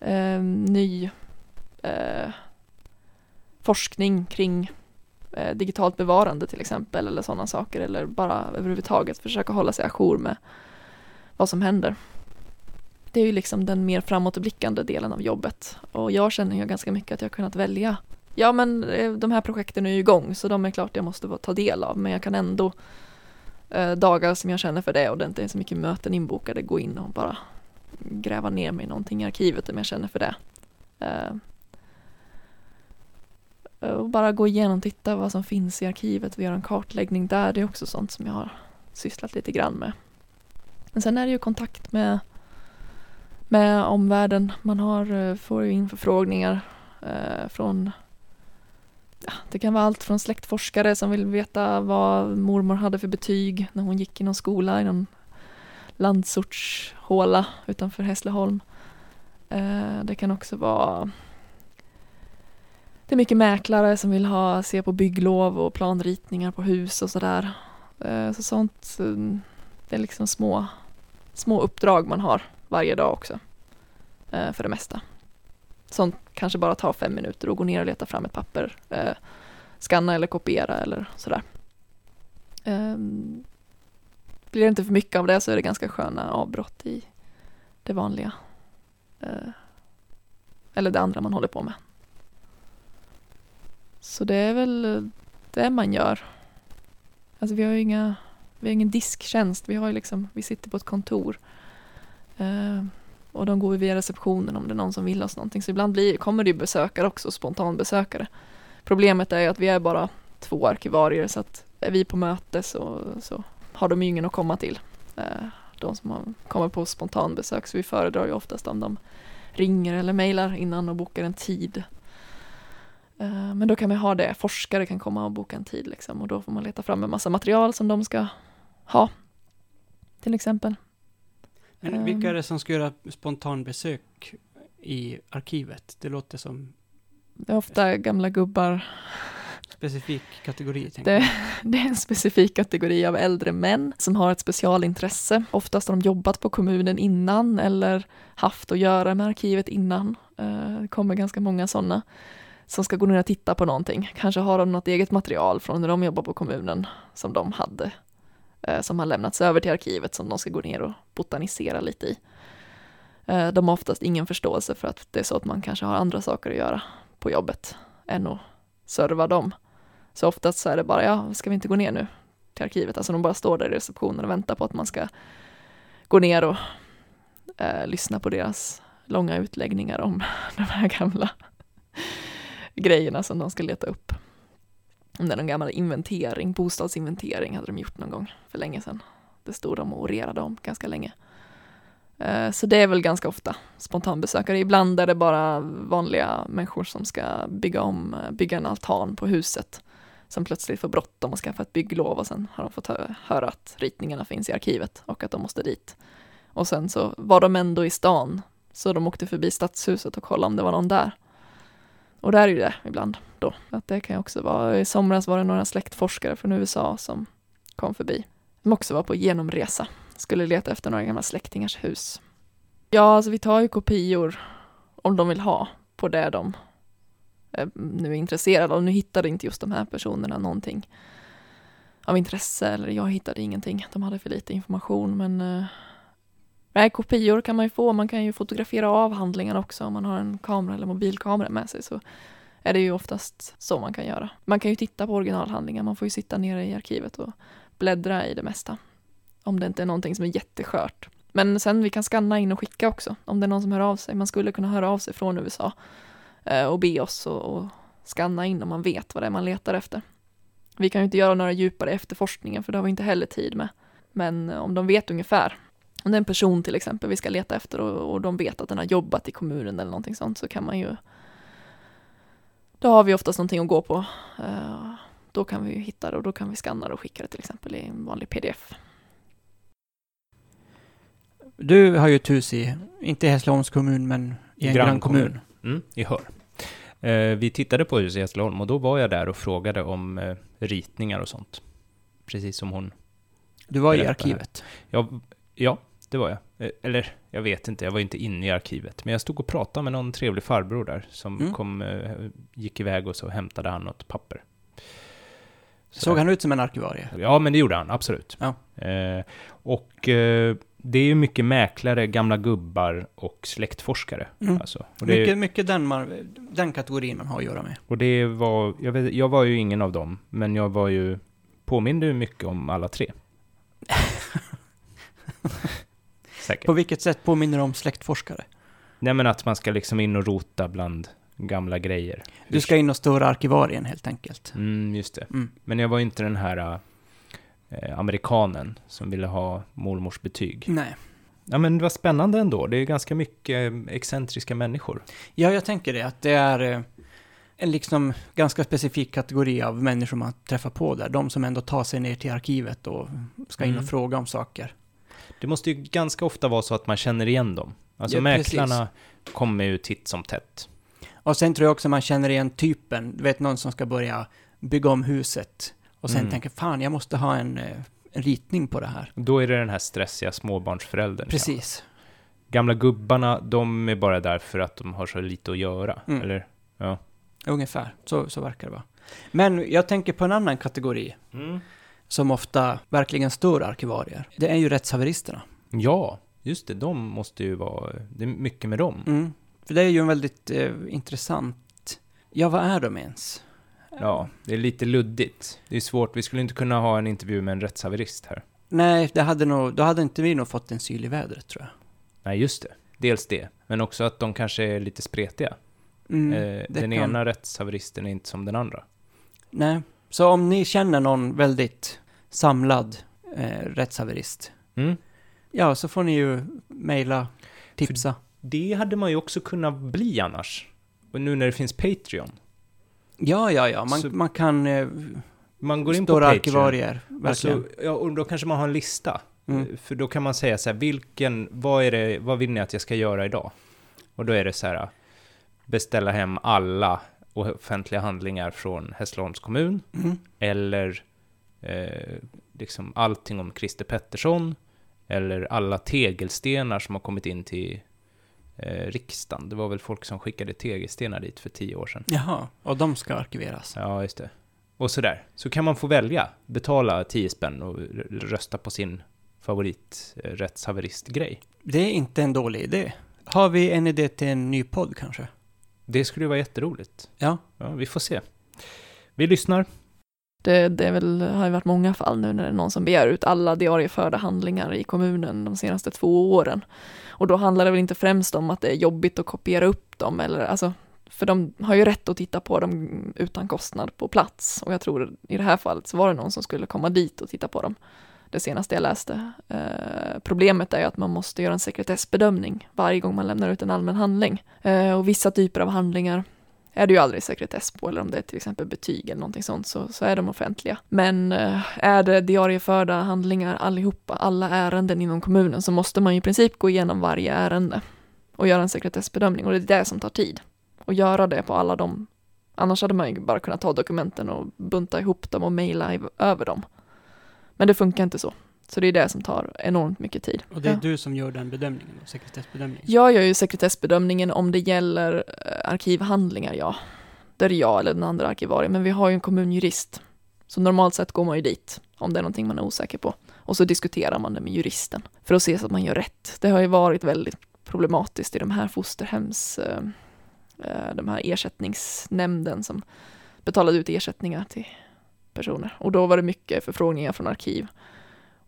[SPEAKER 3] eh, ny eh, forskning kring eh, digitalt bevarande till exempel eller sådana saker eller bara överhuvudtaget försöka hålla sig ajour med vad som händer. Det är ju liksom den mer framåtblickande delen av jobbet och jag känner ju ganska mycket att jag har kunnat välja Ja men eh, de här projekten är ju igång så de är klart jag måste vara- ta del av men jag kan ändå eh, dagar som jag känner för det och det inte är så mycket möten inbokade gå in och bara gräva ner mig i någonting i arkivet om jag känner för det. Eh, och bara gå igenom, titta vad som finns i arkivet och göra en kartläggning där. Det är också sånt som jag har sysslat lite grann med. Men sen är det ju kontakt med, med omvärlden. Man har, eh, får ju in förfrågningar eh, från det kan vara allt från släktforskare som vill veta vad mormor hade för betyg när hon gick i någon skola i någon landsortshåla utanför Hässleholm. Eh, Det kan också vara Det är mycket mäklare som vill ha, se på bygglov och planritningar på hus och sådär. Eh, Så sånt, eh, det är liksom små, små uppdrag man har varje dag också. eh, För det mesta. Sånt kanske bara tar fem minuter och gå ner och leta fram ett papper. eh, Skanna eller kopiera eller sådär. Eh, Blir det inte för mycket av det så är det ganska sköna avbrott i det vanliga. Eh, Eller det andra man håller på med. Så det är väl eh, det man gör. Alltså vi har ju inga, vi har ingen disktjänst, vi har ju liksom, vi sitter på ett kontor. Eh, och de går ju via receptionen om det är någon som vill oss någonting. Så ibland blir, kommer det ju besökare också, spontanbesökare. Problemet är ju att vi är bara två arkivarier så att är vi på möte så, så har de ju ingen att komma till. Eh, de som har- kommer på spontanbesök så vi föredrar ju oftast om de ringer eller mejlar innan och bokar en tid. Eh, Men då kan vi ha det, forskare kan komma och boka en tid liksom, och då får man leta fram en massa material som de ska ha. Till exempel.
[SPEAKER 1] Men vilka är det som ska göra spontanbesök i arkivet? Det låter som
[SPEAKER 3] Det är ofta gamla gubbar.
[SPEAKER 1] specifik kategori. tänker
[SPEAKER 3] Det-
[SPEAKER 1] jag.
[SPEAKER 3] Det är en specifik kategori av äldre män som har ett specialintresse. Oftast har de jobbat på kommunen innan eller haft att göra med arkivet innan. Eh, Det kommer ganska många sådana som ska gå ner och titta på någonting. Kanske har de något eget material från när de jobbar på kommunen som de hade, eh, som har lämnats över till arkivet som de ska gå ner och botanisera lite i. Eh, De har oftast ingen förståelse för att det är så att man kanske har andra saker att göra på jobbet än att serva dem. Så oftast så är det bara, ja, ska vi inte gå ner nu till arkivet? Alltså de bara står där i receptionen och väntar på att man ska gå ner och eh, lyssna på deras långa utläggningar om de här gamla grejerna som de ska leta upp. Om det är någon gammal inventering, bostadsinventering hade de gjort någon gång för länge sedan. Det stod de och orerade om ganska länge. Eh, Så det är väl ganska ofta spontanbesökare. Ibland är det bara vanliga människor som ska bygga om, eh, bygga en altan på huset som plötsligt får bråttom och skaffa ett bygglov och sen har de fått hö- höra att ritningarna finns i arkivet och att de måste dit. Och sen så var de ändå i stan, så de åkte förbi stadshuset och kollade om det var någon där. Och där är ju det ibland då, att det kan ju också vara. I somras var det några släktforskare från USA som kom förbi, som också var på genomresa, skulle leta efter några gamla släktingars hus. Ja, alltså vi tar ju kopior om de vill ha på det de eh, nu är intresserad av. Nu hittade inte just de här personerna någonting av intresse eller jag hittade ingenting. De hade för lite information men eh, nej, kopior kan man ju få. Man kan ju fotografera av handlingarna också om man har en kamera eller mobilkamera med sig så är det ju oftast så man kan göra. Man kan ju titta på originalhandlingar. Man får ju sitta nere i arkivet och bläddra i det mesta. Om det inte är någonting som är jätteskört. Men sen vi kan skanna in och skicka också om det är någon som hör av sig. Man skulle kunna höra av sig från USA eh, och be oss och, och skanna in om man vet vad det är man letar efter. Vi kan ju inte göra några djupare efterforskningar för det har vi inte heller tid med. Men eh, om de vet ungefär, om det är en person till exempel vi ska leta efter och, och de vet att den har jobbat i kommunen eller någonting sånt så kan man ju då har vi oftast någonting att gå på. Eh, Då kan vi ju hitta det och då kan vi skanna det och skicka det till exempel i en vanlig pdf.
[SPEAKER 1] Du har ju ett hus i, inte i Hässleholms kommun, men i en grannkommun.
[SPEAKER 2] Grannkommun. Mm, i Hör. Eh, vi tittade på huset i Hässleholm och då var jag där och frågade om eh, ritningar och sånt. Precis som hon.
[SPEAKER 1] Du var i
[SPEAKER 2] Berätta.
[SPEAKER 1] arkivet.
[SPEAKER 2] Jag, ja, det var jag. Eh, eller, jag vet inte, jag var inte inne i arkivet. Men jag stod och pratade med någon trevlig farbror där som
[SPEAKER 1] Mm.
[SPEAKER 2] kom, eh, gick iväg och så hämtade han något papper. Så
[SPEAKER 1] Såg
[SPEAKER 2] där.
[SPEAKER 1] han ut som en arkivarie?
[SPEAKER 2] Ja, men det gjorde han, absolut.
[SPEAKER 1] Ja.
[SPEAKER 2] Eh, och eh, det är ju mycket mäklare, gamla gubbar och släktforskare.
[SPEAKER 1] Mm.
[SPEAKER 2] Alltså. Och, det,
[SPEAKER 1] Mycket, mycket den, man, den kategorin man har att göra med.
[SPEAKER 2] och det var, jag, vet, jag var ju ingen av dem, men jag var ju, påminde ju mycket om alla tre. Säkert.
[SPEAKER 1] På vilket sätt påminner de om släktforskare?
[SPEAKER 2] Nej men att man ska liksom in och rota bland gamla grejer.
[SPEAKER 1] Du ska in och störa arkivarien helt enkelt.
[SPEAKER 2] Mm, just det.
[SPEAKER 1] Mm.
[SPEAKER 2] Men jag var ju inte den här eh, amerikanen som ville ha mormors betyg.
[SPEAKER 1] Nej.
[SPEAKER 2] Ja men det var spännande ändå. Det är ganska mycket eh, excentriska människor.
[SPEAKER 1] Ja, jag tänker det, att det är eh, en liksom ganska specifik kategori av människor man träffar på där. De som ändå tar sig ner till arkivet och ska in
[SPEAKER 2] Mm.
[SPEAKER 1] och fråga om saker.
[SPEAKER 2] Det måste ju ganska ofta vara så att man känner igen dem. Alltså
[SPEAKER 1] Ja, precis.
[SPEAKER 2] mäklarna kommer ju titt som tätt.
[SPEAKER 1] Ja, Och sen tror jag också man känner igen typen, du vet någon som ska börja bygga om huset och sen
[SPEAKER 2] Mm.
[SPEAKER 1] tänker fan jag måste ha en, eh, en ritning på det här.
[SPEAKER 2] Då är det den här stressiga småbarnsföräldern.
[SPEAKER 1] Precis.
[SPEAKER 2] Gamla gubbarna, de är bara där för att de har så lite att göra,
[SPEAKER 1] Mm.
[SPEAKER 2] eller?
[SPEAKER 1] Ungefär, så, så verkar det vara. Men jag tänker på en annan kategori som ofta verkligen står arkivarier. Det är ju rättshaveristerna.
[SPEAKER 2] Ja, just det, de måste ju vara... Det är mycket med dem.
[SPEAKER 1] Mm. För det är ju en väldigt eh, intressant... Ja, vad är de ens?
[SPEAKER 2] Ja, det är lite luddigt. Det är svårt, vi skulle inte kunna ha en intervju med en rättshaverist här.
[SPEAKER 1] Nej, det hade nog, då hade inte vi nog fått en syl i vädret, tror jag.
[SPEAKER 2] Nej, just det. Dels det, men också att de kanske är lite spretiga.
[SPEAKER 1] Mm,
[SPEAKER 2] eh,
[SPEAKER 1] det kan-
[SPEAKER 2] den ena rättshaveristen är inte som den andra.
[SPEAKER 1] Nej. Så om ni känner någon väldigt samlad eh, rättshaverist,
[SPEAKER 2] Mm.
[SPEAKER 1] ja, så får ni ju mejla, tipsa.
[SPEAKER 2] Det hade man ju också kunnat bli annars. Och nu när det finns Patreon.
[SPEAKER 1] Ja, ja, ja, man,
[SPEAKER 2] Så-
[SPEAKER 1] man kan... Eh,
[SPEAKER 2] Man går in på
[SPEAKER 1] stora
[SPEAKER 2] Patreon. Alltså,
[SPEAKER 1] arkivarier,
[SPEAKER 2] Och,
[SPEAKER 1] verkligen.
[SPEAKER 2] så, ja, och då kanske man har en lista. Eh,
[SPEAKER 1] Mm.
[SPEAKER 2] För då kan man säga så här, vilken, vad, är det, vad vill ni att jag ska göra idag? Och då är det så här, beställa hem alla offentliga handlingar från Hässleholms kommun,
[SPEAKER 1] Mm.
[SPEAKER 2] eller eh, liksom allting om Christer Pettersson, eller alla tegelstenar som har kommit in till eh, riksdagen. Det var väl folk som skickade tegelstenar dit för tio år sedan.
[SPEAKER 1] Jaha, och de ska arkiveras.
[SPEAKER 2] Ja, just det. Och sådär. Så kan man få välja, betala 10 spänn och r- rösta på sin favorit eh, rättshaveristgrej.
[SPEAKER 1] Det är inte en dålig idé. Har vi en idé till en ny podd kanske?
[SPEAKER 2] Det skulle ju vara jätteroligt.
[SPEAKER 1] Ja.
[SPEAKER 2] Ja, vi får se. Vi lyssnar.
[SPEAKER 3] Det, det är väl, har ju varit många fall nu när det är någon som begär ut alla diarieförda handlingar i kommunen de senaste två åren. Och då handlar det väl inte främst om att det är jobbigt att kopiera upp dem eller alltså, för de har ju rätt att titta på dem utan kostnad på plats. Och jag tror i det här fallet så var det någon som skulle komma dit och titta på dem. Det senaste jag läste. Eh, problemet är ju att man måste göra en sekretessbedömning varje gång man lämnar ut en allmän handling. Eh, och vissa typer av handlingar är det ju aldrig sekretess på, eller om det är till exempel betyg eller någonting sånt, så, så är de offentliga. Men eh, är det diarieförda handlingar allihopa, alla ärenden inom kommunen, så måste man ju i princip gå igenom varje ärende och göra en sekretessbedömning, och det är det som tar tid. Och göra det på alla de, annars hade man ju bara kunnat ta dokumenten och bunta ihop dem och mejla i- över dem. Men det funkar inte så. Så det är det som tar enormt mycket tid.
[SPEAKER 1] Och det är
[SPEAKER 3] Ja.
[SPEAKER 1] du som gör den bedömningen, då, sekretessbedömningen?
[SPEAKER 3] Mm. Jag gör ju sekretessbedömningen om det gäller eh, arkivhandlingar, ja. Där är jag eller den andra arkivarien, men vi har ju en kommunjurist. Så normalt sett går man ju dit om det är någonting man är osäker på. Och så diskuterar man det med juristen för att se så att man gör rätt. Det har ju varit väldigt problematiskt i de här fosterhems, eh, eh, de här ersättningsnämnden som betalade ut ersättningar till personer. Och då var det mycket förfrågningar från arkiv.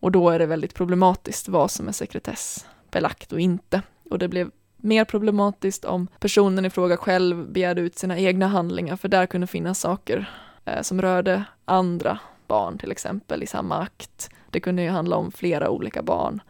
[SPEAKER 3] Och då är det väldigt problematiskt vad som är sekretessbelagt och inte och det blev mer problematiskt om personen i fråga själv begärde ut sina egna handlingar för där kunde finnas saker eh, som rörde andra barn till exempel i samma akt. Det kunde ju handla om flera olika barn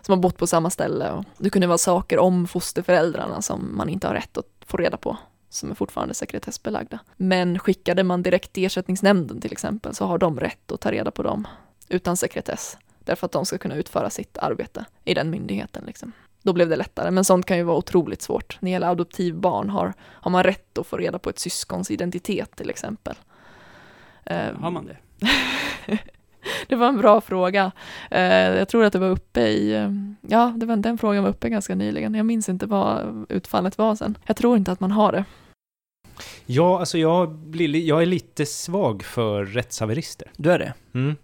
[SPEAKER 3] som har bott på samma ställe och det kunde vara saker om fosterföräldrarna som man inte har rätt att få reda på som är fortfarande sekretessbelagda. Men skickade man direkt till ersättningsnämnden till exempel så har de rätt att ta reda på dem utan sekretess därför att de ska kunna utföra sitt arbete i den myndigheten. Liksom då blev det lättare. Men sånt kan ju vara otroligt svårt. När det gäller adoptivbarn har, har man rätt att få reda på ett syskons identitet till exempel. Eh,
[SPEAKER 1] Har man det?
[SPEAKER 3] det var en bra fråga. Eh, jag tror att det var uppe i, eh, ja, det var, den frågan var uppe ganska nyligen. Jag minns inte vad utfallet var sen. Jag tror inte att man har det.
[SPEAKER 2] Ja, alltså jag, blir, li- jag är lite svag för rättshaverister.
[SPEAKER 1] Du är det?
[SPEAKER 2] Mm.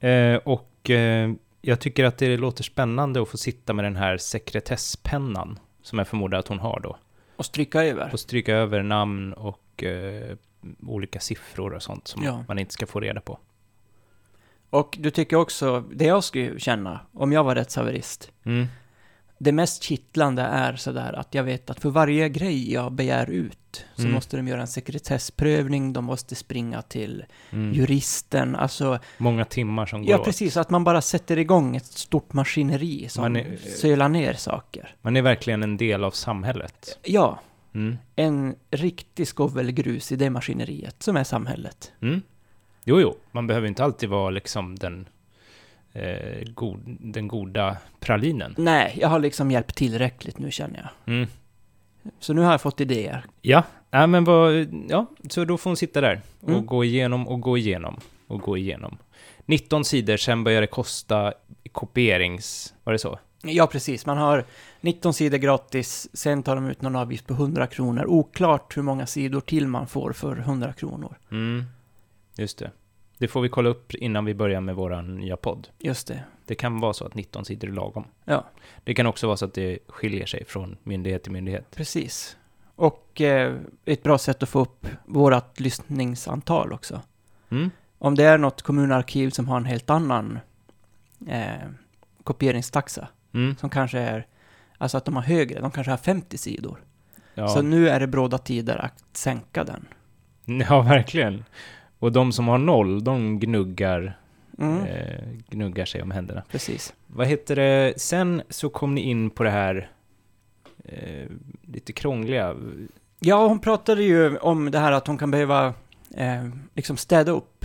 [SPEAKER 2] Eh, och eh, jag tycker att det låter spännande att få sitta med den här sekretesspennan, som jag förmodar att hon har då.
[SPEAKER 1] Och stryka över?
[SPEAKER 2] Och stryka över namn och eh, olika siffror och sånt som
[SPEAKER 1] Ja.
[SPEAKER 2] man inte ska få reda på.
[SPEAKER 1] Och du tycker också, det jag skulle känna om jag var rättshaverist,
[SPEAKER 2] Mm.
[SPEAKER 1] det mest kittlande är sådär att jag vet att för varje grej jag begär ut så
[SPEAKER 2] Mm.
[SPEAKER 1] måste de göra en sekretessprövning, de måste springa till
[SPEAKER 2] Mm.
[SPEAKER 1] juristen, alltså
[SPEAKER 2] Många timmar som går
[SPEAKER 1] Ja,
[SPEAKER 2] åt.
[SPEAKER 1] precis. Att man bara sätter igång ett stort maskineri som
[SPEAKER 2] Man är- eh,
[SPEAKER 1] sölar ner saker.
[SPEAKER 2] Man är verkligen en del av samhället.
[SPEAKER 1] Ja,
[SPEAKER 2] Mm.
[SPEAKER 1] en riktig skovelgrus i det maskineriet som är samhället.
[SPEAKER 2] Mm. Jo, jo, man behöver inte alltid vara liksom den, eh, god, den goda pralinen.
[SPEAKER 1] Nej, jag har liksom hjälpt tillräckligt nu känner jag.
[SPEAKER 2] Mm.
[SPEAKER 1] Så nu har jag fått idéer.
[SPEAKER 2] Ja, nej men vad, ja, så då får hon sitta där och
[SPEAKER 1] Mm.
[SPEAKER 2] gå igenom och gå igenom och gå igenom. 19 sidor, sen börjar det kosta kopierings... Var det så?
[SPEAKER 1] Ja, precis. Man har 19 sidor gratis, sen tar de ut någon avgift på 100 kronor. Oklart hur många sidor till man får för 100 kronor.
[SPEAKER 2] Mm, just det. Det får vi kolla upp innan vi börjar med vår nya podd.
[SPEAKER 1] Just det.
[SPEAKER 2] Det kan vara så att 19 sidor är lagom.
[SPEAKER 1] Ja.
[SPEAKER 2] Det kan också vara så att det skiljer sig från myndighet till myndighet.
[SPEAKER 1] Precis. Och eh, ett bra sätt att få upp vårt lyssningsantal också.
[SPEAKER 2] Mm,
[SPEAKER 1] Om det är något kommunarkiv som har en helt annan eh, kopieringstaxa,
[SPEAKER 2] mm,
[SPEAKER 1] som kanske är, alltså att de har högre, de kanske har 50 sidor.
[SPEAKER 2] ja.
[SPEAKER 1] Så nu är det bråda tider att sänka den.
[SPEAKER 2] ja, verkligen. Och de som har noll, de gnuggar,
[SPEAKER 1] Mm,
[SPEAKER 2] eh, gnuggar sig om händerna.
[SPEAKER 1] Precis.
[SPEAKER 2] Vad heter det? Sen så kom ni in på det här eh, lite krångliga.
[SPEAKER 1] Ja, hon pratade ju om det här att hon kan behöva eh, liksom städa upp,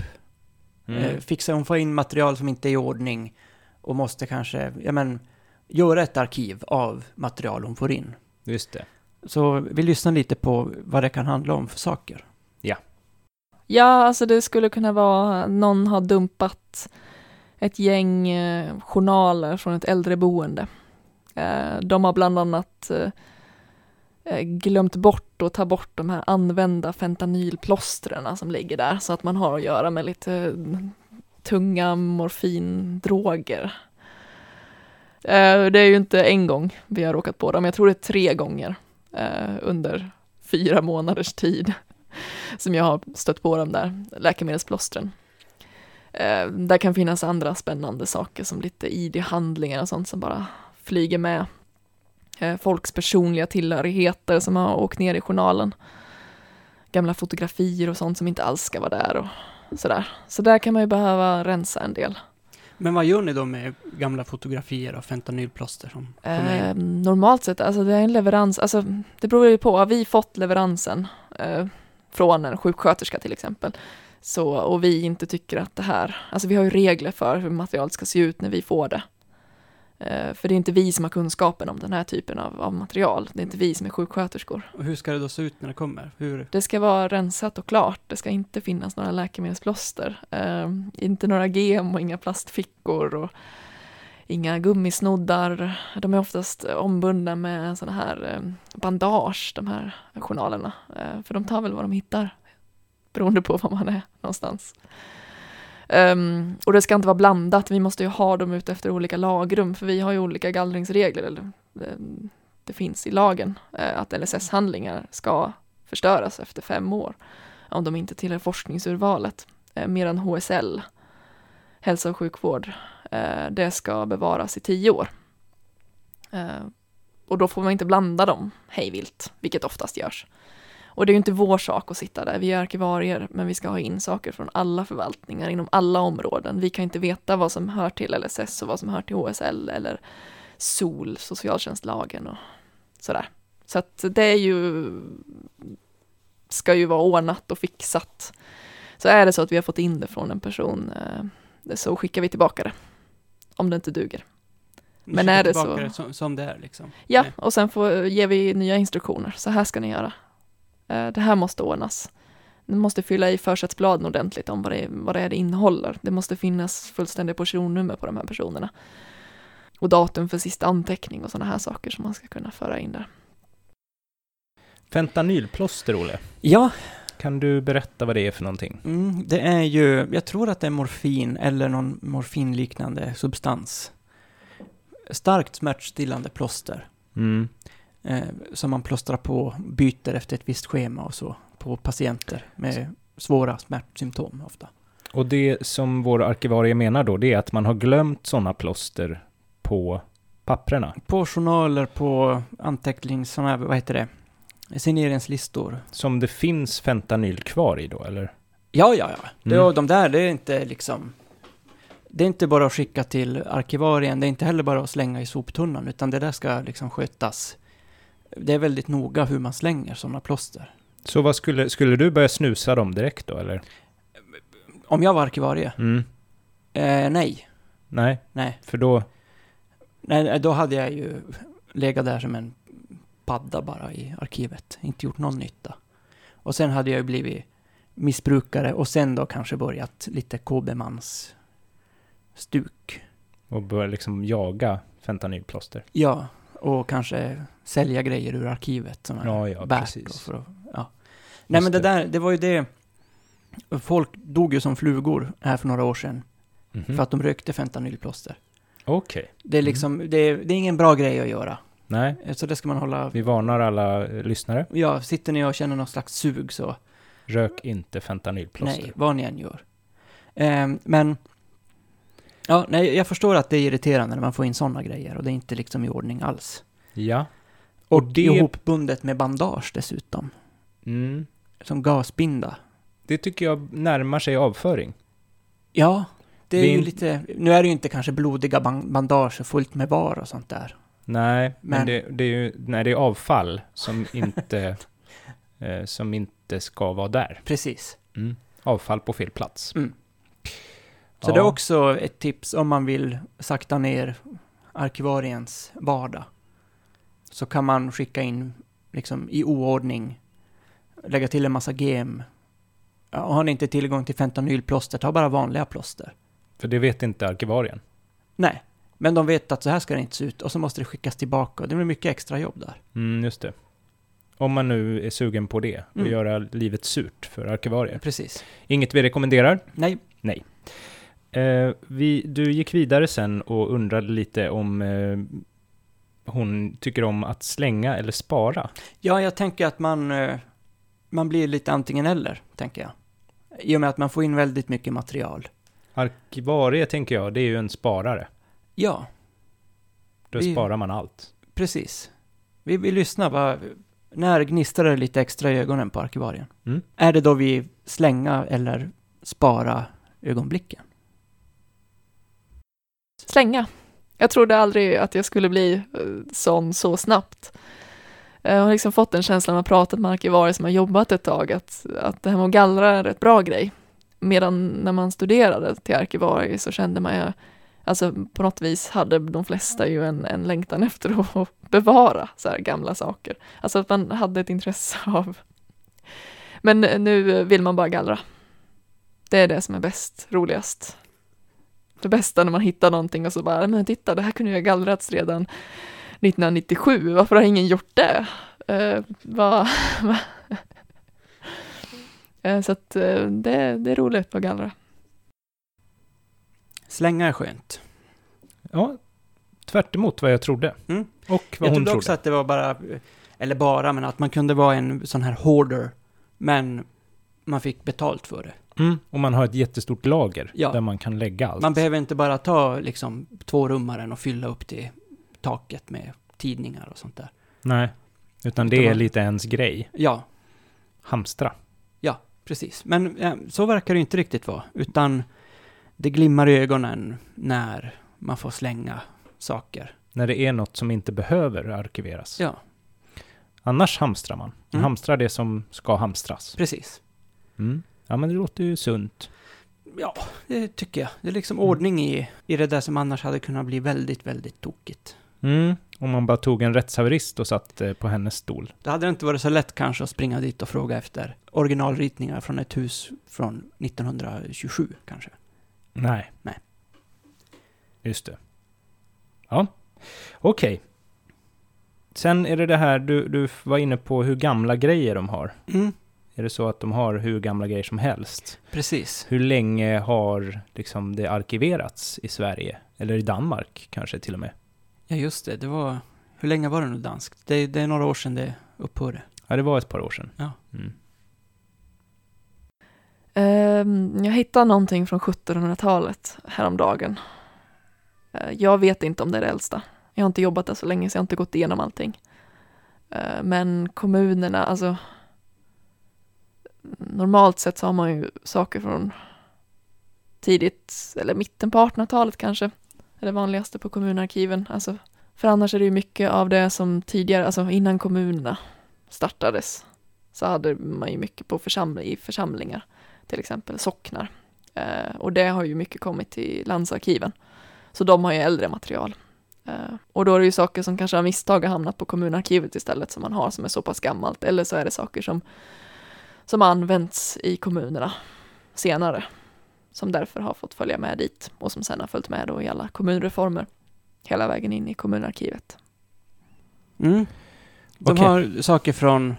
[SPEAKER 1] eh,
[SPEAKER 2] Mm.
[SPEAKER 1] fixa, hon får in material som inte är i ordning och måste kanske, ja men, göra ett arkiv av material hon får in.
[SPEAKER 2] Just det.
[SPEAKER 1] Så vi lyssnar lite på vad det kan handla om för saker.
[SPEAKER 3] Ja, alltså det skulle kunna vara någon har dumpat ett gäng eh, journaler från ett äldreboende. Eh, de har bland annat eh, eh, glömt bort att ta bort de här använda fentanylplåstren som ligger där så att man har att göra med lite eh, tunga morfindroger. Eh, det är ju inte en gång vi har råkat på det, men jag tror det är tre gånger eh, under fyra månaders tid som jag har stött på de där läkemedelsplåstren. Eh, där kan finnas andra spännande saker som lite ID-handlingar och sånt som bara flyger med. Eh, folks personliga tillhörigheter som har åkt ner i journalen. Gamla fotografier och sånt som inte alls ska vara där och sådär. Så där kan man ju behöva rensa en del.
[SPEAKER 1] Men vad gör ni då med gamla fotografier av fentanylplåster som kommer in?
[SPEAKER 3] Eh, normalt sett, alltså det är en leverans, alltså det beror ju på, har vi fått leveransen eh, från en sjuksköterska till exempel, så, och vi inte tycker att det här, alltså vi har ju regler för hur materialet ska se ut när vi får det. Eh, för det är inte vi som har kunskapen om den här typen av, av material, det är inte vi som är sjuksköterskor.
[SPEAKER 1] Och hur ska det då se ut när det kommer? Hur?
[SPEAKER 3] Typ, Det ska vara rensat och klart. Det ska inte finnas några läkemedelsplåster. Eh, inte några gem och inga plastfickor och inga gummisnoddar. De är oftast ombundna med sådana här eh, bandage, de här journalerna. Eh, för de tar väl vad de hittar, beroende på var man är någonstans. Ehm, och det ska inte vara blandat. Vi måste ju ha dem ute efter olika lagrum, för vi har ju olika gallringsregler. Eller, eh, det finns i lagen eh, att LSS-handlingar ska förstöras efter fem år om de inte tillhör forskningsurvalet. Eh, medan HSL, hälso och sjukvård, eh, det ska bevaras i tio år. Eh, och då får man inte blanda dem hejvilt, vilket oftast görs. Och det är ju inte vår sak att sitta där, vi är arkivarier, men vi ska ha in saker från alla förvaltningar inom alla områden. Vi kan inte veta vad som hör till LSS och vad som hör till HSL eller SOL, socialtjänstlagen och sådär. Så att det är ju ska ju vara ordnat och fixat. Så är det så att vi har fått in det från en person eh, så skickar vi tillbaka det. Om det inte duger.
[SPEAKER 1] Ni
[SPEAKER 3] Men
[SPEAKER 1] skickar
[SPEAKER 3] är det
[SPEAKER 1] tillbaka
[SPEAKER 3] så-
[SPEAKER 1] Det som, som det är liksom?
[SPEAKER 3] Ja,
[SPEAKER 1] Nej.
[SPEAKER 3] och sen får, ger vi nya instruktioner. Så här ska ni göra. Eh, det här måste ordnas. Ni måste fylla i försättsbladen ordentligt om vad det, vad det är det innehåller. Det måste finnas fullständiga personnummer på de här personerna. Och datum för sista anteckning och sådana här saker som man ska kunna föra in där.
[SPEAKER 2] Fentanylplåster, Olle.
[SPEAKER 1] Ja,
[SPEAKER 2] Kan du berätta vad det är för någonting?
[SPEAKER 1] mm, det är ju, jag tror att det är morfin eller någon morfinliknande substans. Starkt smärtstillande plåster
[SPEAKER 2] Mm.
[SPEAKER 1] eh, som man plåstrar på, byter efter ett visst schema och så på patienter med svåra smärtsymptom ofta.
[SPEAKER 2] Och det som vår arkivarie menar då, det är att man har glömt sådana plåster på papprena.
[SPEAKER 1] På journaler, på antecknings, såna här, vad heter det, signeringslistor.
[SPEAKER 2] Som det finns fentanyl kvar i då, eller?
[SPEAKER 1] Ja, ja, ja. Det,
[SPEAKER 2] Mm.
[SPEAKER 1] och de där, det är inte liksom... Det är inte bara att skicka till arkivarien, det är inte heller bara att slänga i soptunnan, utan det där ska liksom skötas. Det är väldigt noga hur man slänger sådana plåster.
[SPEAKER 2] Så vad skulle, skulle du börja snusa dem direkt då, eller?
[SPEAKER 1] Om jag var arkivarie?
[SPEAKER 2] Mm.
[SPEAKER 1] Eh, nej.
[SPEAKER 2] Nej,
[SPEAKER 1] Nej.
[SPEAKER 2] för då...
[SPEAKER 1] Nej, då hade jag ju legat där som en padda bara i arkivet, inte gjort någon nytta. Och sen hade jag ju blivit missbrukare och sen då kanske börjat lite kbmans stuk.
[SPEAKER 2] Och börjar liksom jaga fentanylplåster.
[SPEAKER 1] Ja, och kanske sälja grejer ur arkivet som är
[SPEAKER 2] Ja, ja,
[SPEAKER 1] värt
[SPEAKER 2] precis.
[SPEAKER 1] då för att, ja. Nej men det
[SPEAKER 2] Just
[SPEAKER 1] där, det var ju det. Folk dog ju som flugor här för några år sedan
[SPEAKER 2] Mhm.
[SPEAKER 1] för att de rökte fentanylplåster.
[SPEAKER 2] Okej.
[SPEAKER 1] Det är liksom, det, är, det är ingen bra grej att göra.
[SPEAKER 2] Nej,
[SPEAKER 1] Eh, Så det ska man hålla,
[SPEAKER 2] vi varnar alla eh, lyssnare.
[SPEAKER 1] ja, sitter ni och känner någon slags sug så
[SPEAKER 2] Rök
[SPEAKER 1] Mm.
[SPEAKER 2] inte fentanylplåster.
[SPEAKER 1] Nej, vad ni än gör. Ehm, men, ja, nej, jag förstår att det är irriterande när man får in sådana grejer och det är inte liksom i ordning alls.
[SPEAKER 2] Ja.
[SPEAKER 1] Och,
[SPEAKER 2] Och det-
[SPEAKER 1] ihopbundet med bandage dessutom,
[SPEAKER 2] Mm.
[SPEAKER 1] som gasbinda.
[SPEAKER 2] Det tycker jag närmar sig avföring.
[SPEAKER 1] Ja, det är
[SPEAKER 2] Det är
[SPEAKER 1] ju
[SPEAKER 2] en-
[SPEAKER 1] lite, nu är det ju inte kanske blodiga ban- bandage och fullt med var och sånt där.
[SPEAKER 2] Nej, men,
[SPEAKER 1] Men-
[SPEAKER 2] det, det är ju när det är avfall som inte, eh, som inte ska vara där.
[SPEAKER 1] Precis.
[SPEAKER 2] Mm. Avfall på fel plats.
[SPEAKER 1] Mm. Så
[SPEAKER 2] Ja.
[SPEAKER 1] det är också ett tips om man vill sakta ner arkivariens vardag. Så kan man skicka in, liksom i oordning, lägga till en massa gem. Ja, Och har ni inte tillgång till fentanylplåster, ta bara vanliga plåster.
[SPEAKER 2] För det vet inte arkivarien.
[SPEAKER 1] Nej, men de vet att så här ska det inte se ut och så måste det skickas tillbaka. Det blir mycket extra jobb där.
[SPEAKER 2] Mm, just det. Om man nu är sugen på det och
[SPEAKER 1] Mm.
[SPEAKER 2] göra livet surt för arkivarier.
[SPEAKER 1] Precis.
[SPEAKER 2] Inget vi rekommenderar.
[SPEAKER 1] Nej,
[SPEAKER 2] Eh, vi, du gick vidare sen och undrade lite om eh, hon tycker om att slänga eller spara.
[SPEAKER 1] Ja, jag tänker att man, eh, man blir lite antingen eller, tänker jag. I och med att man får in väldigt mycket material.
[SPEAKER 2] Arkivarie, tänker jag, det är ju en sparare.
[SPEAKER 1] Ja,
[SPEAKER 2] Då
[SPEAKER 1] Vi-
[SPEAKER 2] sparar man allt.
[SPEAKER 1] precis. Vi vill lyssna, vad, när gnistrar det lite extra i ögonen på arkivarien?
[SPEAKER 2] Mm.
[SPEAKER 1] Är det då vi slänga eller spara ögonblicken?
[SPEAKER 3] slänga. Jag trodde aldrig att jag skulle bli eh, sån så snabbt. Eh, Jag har liksom fått den känslan när man pratat med arkivarier som har jobbat ett tag, att, att det här med att gallra är en rätt bra grej. Medan när man studerade till arkivarie så kände man ju, alltså på något vis hade de flesta ju en, en längtan efter att bevara så här gamla saker. Alltså att man hade ett intresse av. Men nu vill man bara gallra. Det är det som är bäst, roligast det bästa när man hittar någonting och så bara, men titta, det här kunde ju ha gallrats redan 1997, varför har ingen gjort det? Eh, vad, vad? Eh, så att eh, det, det är roligt att gallra.
[SPEAKER 1] Slänga är skönt.
[SPEAKER 2] Ja, tvärt emot vad jag trodde.
[SPEAKER 1] Mm.
[SPEAKER 2] Och vad
[SPEAKER 1] Jag
[SPEAKER 2] hon
[SPEAKER 1] trodde
[SPEAKER 2] trodde.
[SPEAKER 1] också att det var bara, eller bara, men att man kunde vara en sån här hoarder, men man fick betalt för det.
[SPEAKER 2] Mm. Och man har ett jättestort lager
[SPEAKER 1] Ja.
[SPEAKER 2] där man kan lägga allt.
[SPEAKER 1] Man behöver inte bara ta liksom tvårummaren och fylla upp till taket med tidningar och sånt där.
[SPEAKER 2] Nej, utan
[SPEAKER 1] Utan
[SPEAKER 2] det är
[SPEAKER 1] man-
[SPEAKER 2] lite ens grej.
[SPEAKER 1] Ja,
[SPEAKER 2] Hamstra.
[SPEAKER 1] precis. Men eh, så verkar det inte riktigt vara, utan det glimmar i ögonen när man får slänga saker.
[SPEAKER 2] När det är något som inte behöver arkiveras.
[SPEAKER 1] Ja,
[SPEAKER 2] Annars hamstrar man. Man
[SPEAKER 1] Mm.
[SPEAKER 2] hamstrar det som ska hamstras.
[SPEAKER 1] precis.
[SPEAKER 2] Mm. Ja, men det låter ju sunt.
[SPEAKER 1] Ja, det tycker jag. Det är liksom
[SPEAKER 2] Mm.
[SPEAKER 1] ordning i, i det där som annars hade kunnat bli väldigt, väldigt tokigt.
[SPEAKER 2] Mm. Om man bara tog en rättshaverist och satt eh, på hennes stol.
[SPEAKER 1] Det hade inte varit så lätt kanske att springa dit och fråga efter originalritningar från ett hus från 1927 kanske.
[SPEAKER 2] Nej.
[SPEAKER 1] Nej.
[SPEAKER 2] Just det. Ja, okej. Sen är det det här, du, du var inne på hur gamla grejer de har.
[SPEAKER 1] Mm,
[SPEAKER 2] Är det så att de har hur gamla grejer som helst?
[SPEAKER 1] precis.
[SPEAKER 2] Hur länge har liksom det arkiverats i Sverige? Eller i Danmark kanske till och med?
[SPEAKER 1] Ja, just det. Det var... Hur länge var det nu danskt? Det, det är några år sedan det upphörde.
[SPEAKER 2] Ja, det var ett par år sedan.
[SPEAKER 1] Ja.
[SPEAKER 2] Mm.
[SPEAKER 3] Ehm, jag hittade någonting från 1700-talet häromdagen. Eh, jag vet inte om det är det äldsta. Jag har inte jobbat där så länge så jag har inte gått igenom allting. Eh, men kommunerna, alltså normalt sett så har man ju saker från tidigt, eller mitten på 1800-talet kanske. Det är det vanligaste på kommunarkiven. Alltså, för annars är det ju mycket av det som tidigare, alltså innan kommunerna startades, så hade man ju mycket på församling, i församlingar till exempel socknar. Eh, och det har ju mycket kommit till landsarkiven. Så de har ju äldre material. Eh, Eh, Och då är det ju saker som kanske av misstag har hamnat på kommunarkivet istället som man har som är så pass gammalt. Eller så är det saker som, som har använts i kommunerna senare. Som därför har fått följa med dit och som sen har följt med då i alla kommunreformer. Hela vägen in i kommunarkivet.
[SPEAKER 1] Mm. De
[SPEAKER 2] Okej.
[SPEAKER 1] har saker från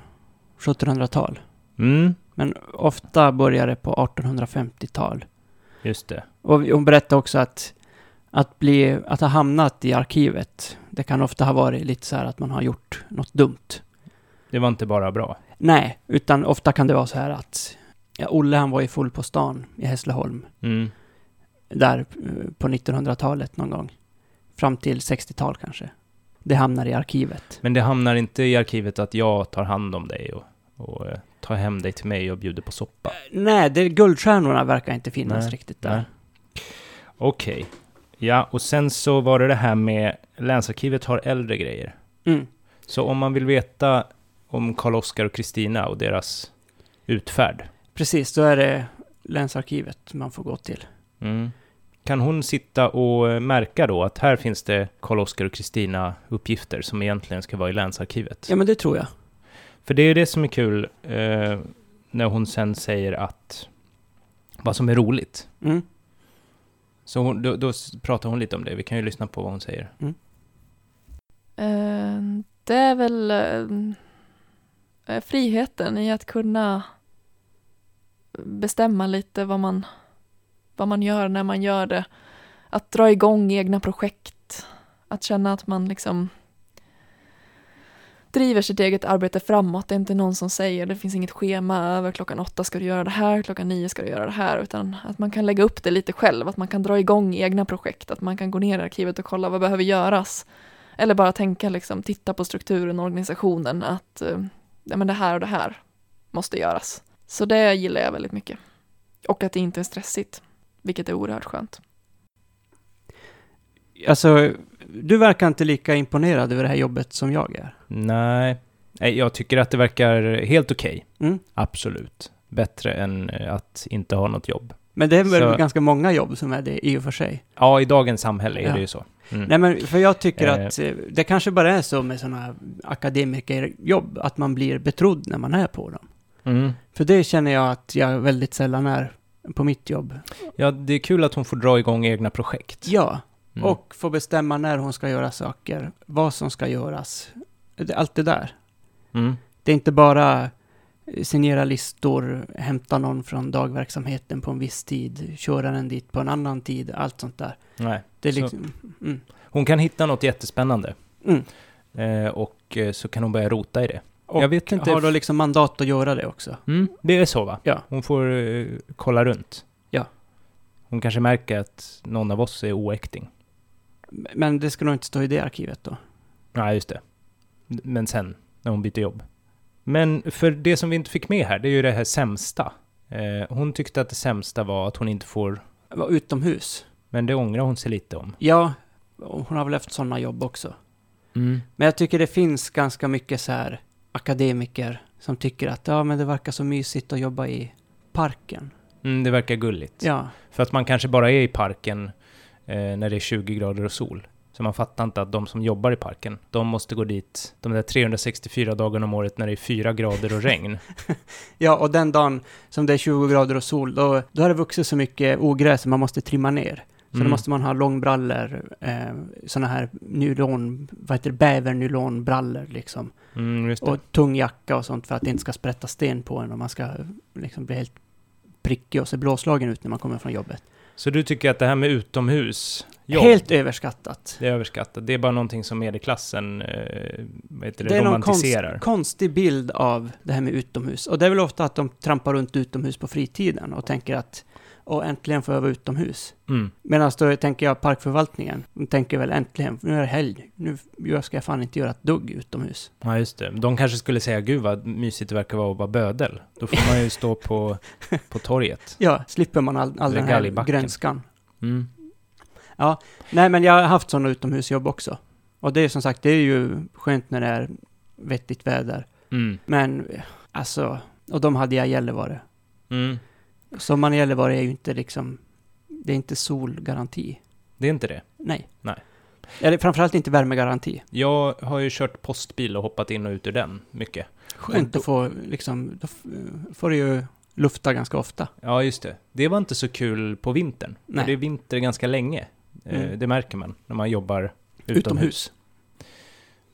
[SPEAKER 1] 1700-tal.
[SPEAKER 2] Mm,
[SPEAKER 1] Men ofta börjar det på 1850-tal.
[SPEAKER 2] just det.
[SPEAKER 1] Och hon berättade också att att, bli, att ha hamnat i arkivet, det kan ofta ha varit lite så här att man har gjort något dumt.
[SPEAKER 2] Det var inte bara bra.
[SPEAKER 1] Nej, utan ofta kan det vara så här att ja, Olle han var ju full på stan i Hässleholm
[SPEAKER 2] Mm,
[SPEAKER 1] där eh, på 1900-talet någon gång. Fram till 60-tal kanske. Det hamnar i arkivet.
[SPEAKER 2] Men det hamnar inte i arkivet att jag tar hand om dig och, och eh, tar hem dig till mig och bjuder på soppa.
[SPEAKER 1] Nej, det, guldstjärnorna verkar inte finnas
[SPEAKER 2] Nej,
[SPEAKER 1] riktigt där.
[SPEAKER 2] nej. Okej. Ja, och sen så var det det här med länsarkivet har äldre grejer.
[SPEAKER 1] Mm.
[SPEAKER 2] Så om man vill veta om Karl-Oskar och Kristina och deras utfärd.
[SPEAKER 1] Precis, då är det länsarkivet man får gå till.
[SPEAKER 2] Mm. Kan hon sitta och eh, märka då att här finns det Karl-Oskar och Kristina uppgifter som egentligen ska vara i länsarkivet?
[SPEAKER 1] Ja, men det tror jag.
[SPEAKER 2] För det är ju det som är kul eh, när hon sen säger att vad som är roligt.
[SPEAKER 1] Mm.
[SPEAKER 2] Så hon, då, då s- pratar hon lite om det. Vi kan ju lyssna på vad hon säger.
[SPEAKER 3] Eh, Det är väl eh, eh, friheten i att kunna bestämma lite vad man, vad man gör när man gör det. Att dra igång egna projekt. Att känna att man liksom driver sitt eget arbete framåt. Det är inte någon som säger det finns inget schema över klockan åtta ska du göra det här, klockan nio ska du göra det här. Utan att man kan lägga upp det lite själv. Att man kan dra igång egna projekt. Att man kan gå ner i arkivet och kolla vad behöver göras. Eller bara tänka liksom, titta på strukturen och organisationen att eh, ja, men det här och det här måste göras. Så det gillar jag väldigt mycket. Och att det inte är stressigt, vilket är oerhört skönt.
[SPEAKER 1] Alltså, du verkar inte lika imponerad över det här jobbet som jag är.
[SPEAKER 2] Nej, Nej jag tycker att det verkar helt okej.
[SPEAKER 1] Mm.
[SPEAKER 2] Absolut. Bättre än eh, att inte ha något jobb.
[SPEAKER 1] Men det är väl
[SPEAKER 2] Så-
[SPEAKER 1] ganska många jobb som är det i och för sig.
[SPEAKER 2] Ja, i dagens samhälle är
[SPEAKER 1] Ja.
[SPEAKER 2] det ju så. Mm.
[SPEAKER 1] Nej, men för jag tycker
[SPEAKER 2] Eh.
[SPEAKER 1] att Mm. eh, det kanske bara är så med sådana akademikerjobb, att man blir betrodd när man är på dem.
[SPEAKER 2] Mm.
[SPEAKER 1] För det känner jag att jag väldigt sällan är på mitt jobb.
[SPEAKER 2] Ja, det är kul att hon får dra igång egna projekt.
[SPEAKER 1] Ja,
[SPEAKER 2] Mm.
[SPEAKER 1] och få bestämma när hon ska göra saker, vad som ska göras, Det- allt det där.
[SPEAKER 2] Mm.
[SPEAKER 1] Det är inte bara eh, signera listor, hämta någon från dagverksamheten på en viss tid, köra den dit på en annan tid, allt sånt där.
[SPEAKER 2] Nej.
[SPEAKER 1] Det är
[SPEAKER 2] Så-
[SPEAKER 1] liksom... Mm,
[SPEAKER 2] Hon kan hitta något jättespännande
[SPEAKER 1] mm.
[SPEAKER 2] eh, och eh, så kan hon börja rota i det.
[SPEAKER 1] Och
[SPEAKER 2] jag vet inte...
[SPEAKER 1] Har då liksom mandat att göra det också.
[SPEAKER 2] Mm, det är så va?
[SPEAKER 1] Ja.
[SPEAKER 2] Hon får eh, kolla runt.
[SPEAKER 1] Ja.
[SPEAKER 2] Hon kanske märker att någon av oss är oäkting.
[SPEAKER 1] Men det ska nog inte stå i det arkivet då.
[SPEAKER 2] Nej, just det. Men sen, när hon byter jobb. Men för det som vi inte fick med här, det är ju det här sämsta. Eh, hon tyckte att det sämsta var att hon inte får...
[SPEAKER 1] Vara utomhus.
[SPEAKER 2] Men det ångrar hon sig lite om.
[SPEAKER 1] Ja, hon har väl haft sådana jobb också.
[SPEAKER 2] Mm.
[SPEAKER 1] Men jag tycker det finns ganska mycket så här akademiker som tycker att ja, men det verkar så mysigt att jobba i parken.
[SPEAKER 2] Mm, det verkar gulligt.
[SPEAKER 1] Ja,
[SPEAKER 2] För att man kanske bara är i parken eh, när det är 20 grader och sol. Så man fattar inte att de som jobbar i parken, de måste gå dit de där 364 dagarna om året när det är 4 grader och regn.
[SPEAKER 1] ja och den dagen som det är 20 grader och sol, då, då har det vuxit så mycket ogräs som man måste trimma ner. Så
[SPEAKER 2] Mm.
[SPEAKER 1] då måste man ha långbrallor, eh, sådana här nylon, vad heter det, bävernylonbrallor liksom.
[SPEAKER 2] Mm, just det.
[SPEAKER 1] Och tung jacka och sånt för att det inte ska sprätta sten på en och man ska liksom bli helt prickig och se blåslagen ut när man kommer från jobbet.
[SPEAKER 2] Så du tycker att det här med utomhus, jobb,
[SPEAKER 1] Helt överskattat.
[SPEAKER 2] det är överskattat. Det är bara någonting som medelklassen eh, vad heter det,
[SPEAKER 1] Det är någon
[SPEAKER 2] romantiserar.
[SPEAKER 1] Konstig bild av det här med utomhus. Och det är väl ofta att de trampar runt utomhus på fritiden och tänker att Åh, äntligen får jag vara utomhus.
[SPEAKER 2] Mm.
[SPEAKER 1] Medan då tänker jag parkförvaltningen. De tänker väl äntligen, nu är det helg. Nu jag ska jag fan inte göra ett dugg utomhus.
[SPEAKER 2] Ja, just det. De kanske skulle säga, gud vad mysigt det verkar vara att vara bödel. Då får man ju stå på, på torget.
[SPEAKER 1] Ja, slipper man all, all
[SPEAKER 2] Eller
[SPEAKER 1] den här
[SPEAKER 2] galgbacken.
[SPEAKER 1] grönskan.
[SPEAKER 2] Mm.
[SPEAKER 1] Nej, men jag har haft sådana utomhusjobb också. Och det är som sagt, det är ju skönt när det är vettigt väder.
[SPEAKER 2] Mm.
[SPEAKER 1] Men eh, alltså, och de hade jag i Gällivare.
[SPEAKER 2] Mm.
[SPEAKER 1] Sommaren i Gällivare är ju inte liksom, det är inte solgaranti.
[SPEAKER 2] Det är inte det.
[SPEAKER 1] Nej.
[SPEAKER 2] Nej.
[SPEAKER 1] Eller framförallt inte värmegaranti.
[SPEAKER 2] Jag har ju kört postbil och hoppat in och ut ur den mycket.
[SPEAKER 1] Skönt att få, liksom, då f- får du ju lufta ganska ofta.
[SPEAKER 2] Ja, just det. Det var inte så kul på vintern. för
[SPEAKER 1] Nej.
[SPEAKER 2] Det är vinter ganska länge. Eh,
[SPEAKER 1] Mm.
[SPEAKER 2] Det märker man när man jobbar utomhus.
[SPEAKER 1] Utomhus.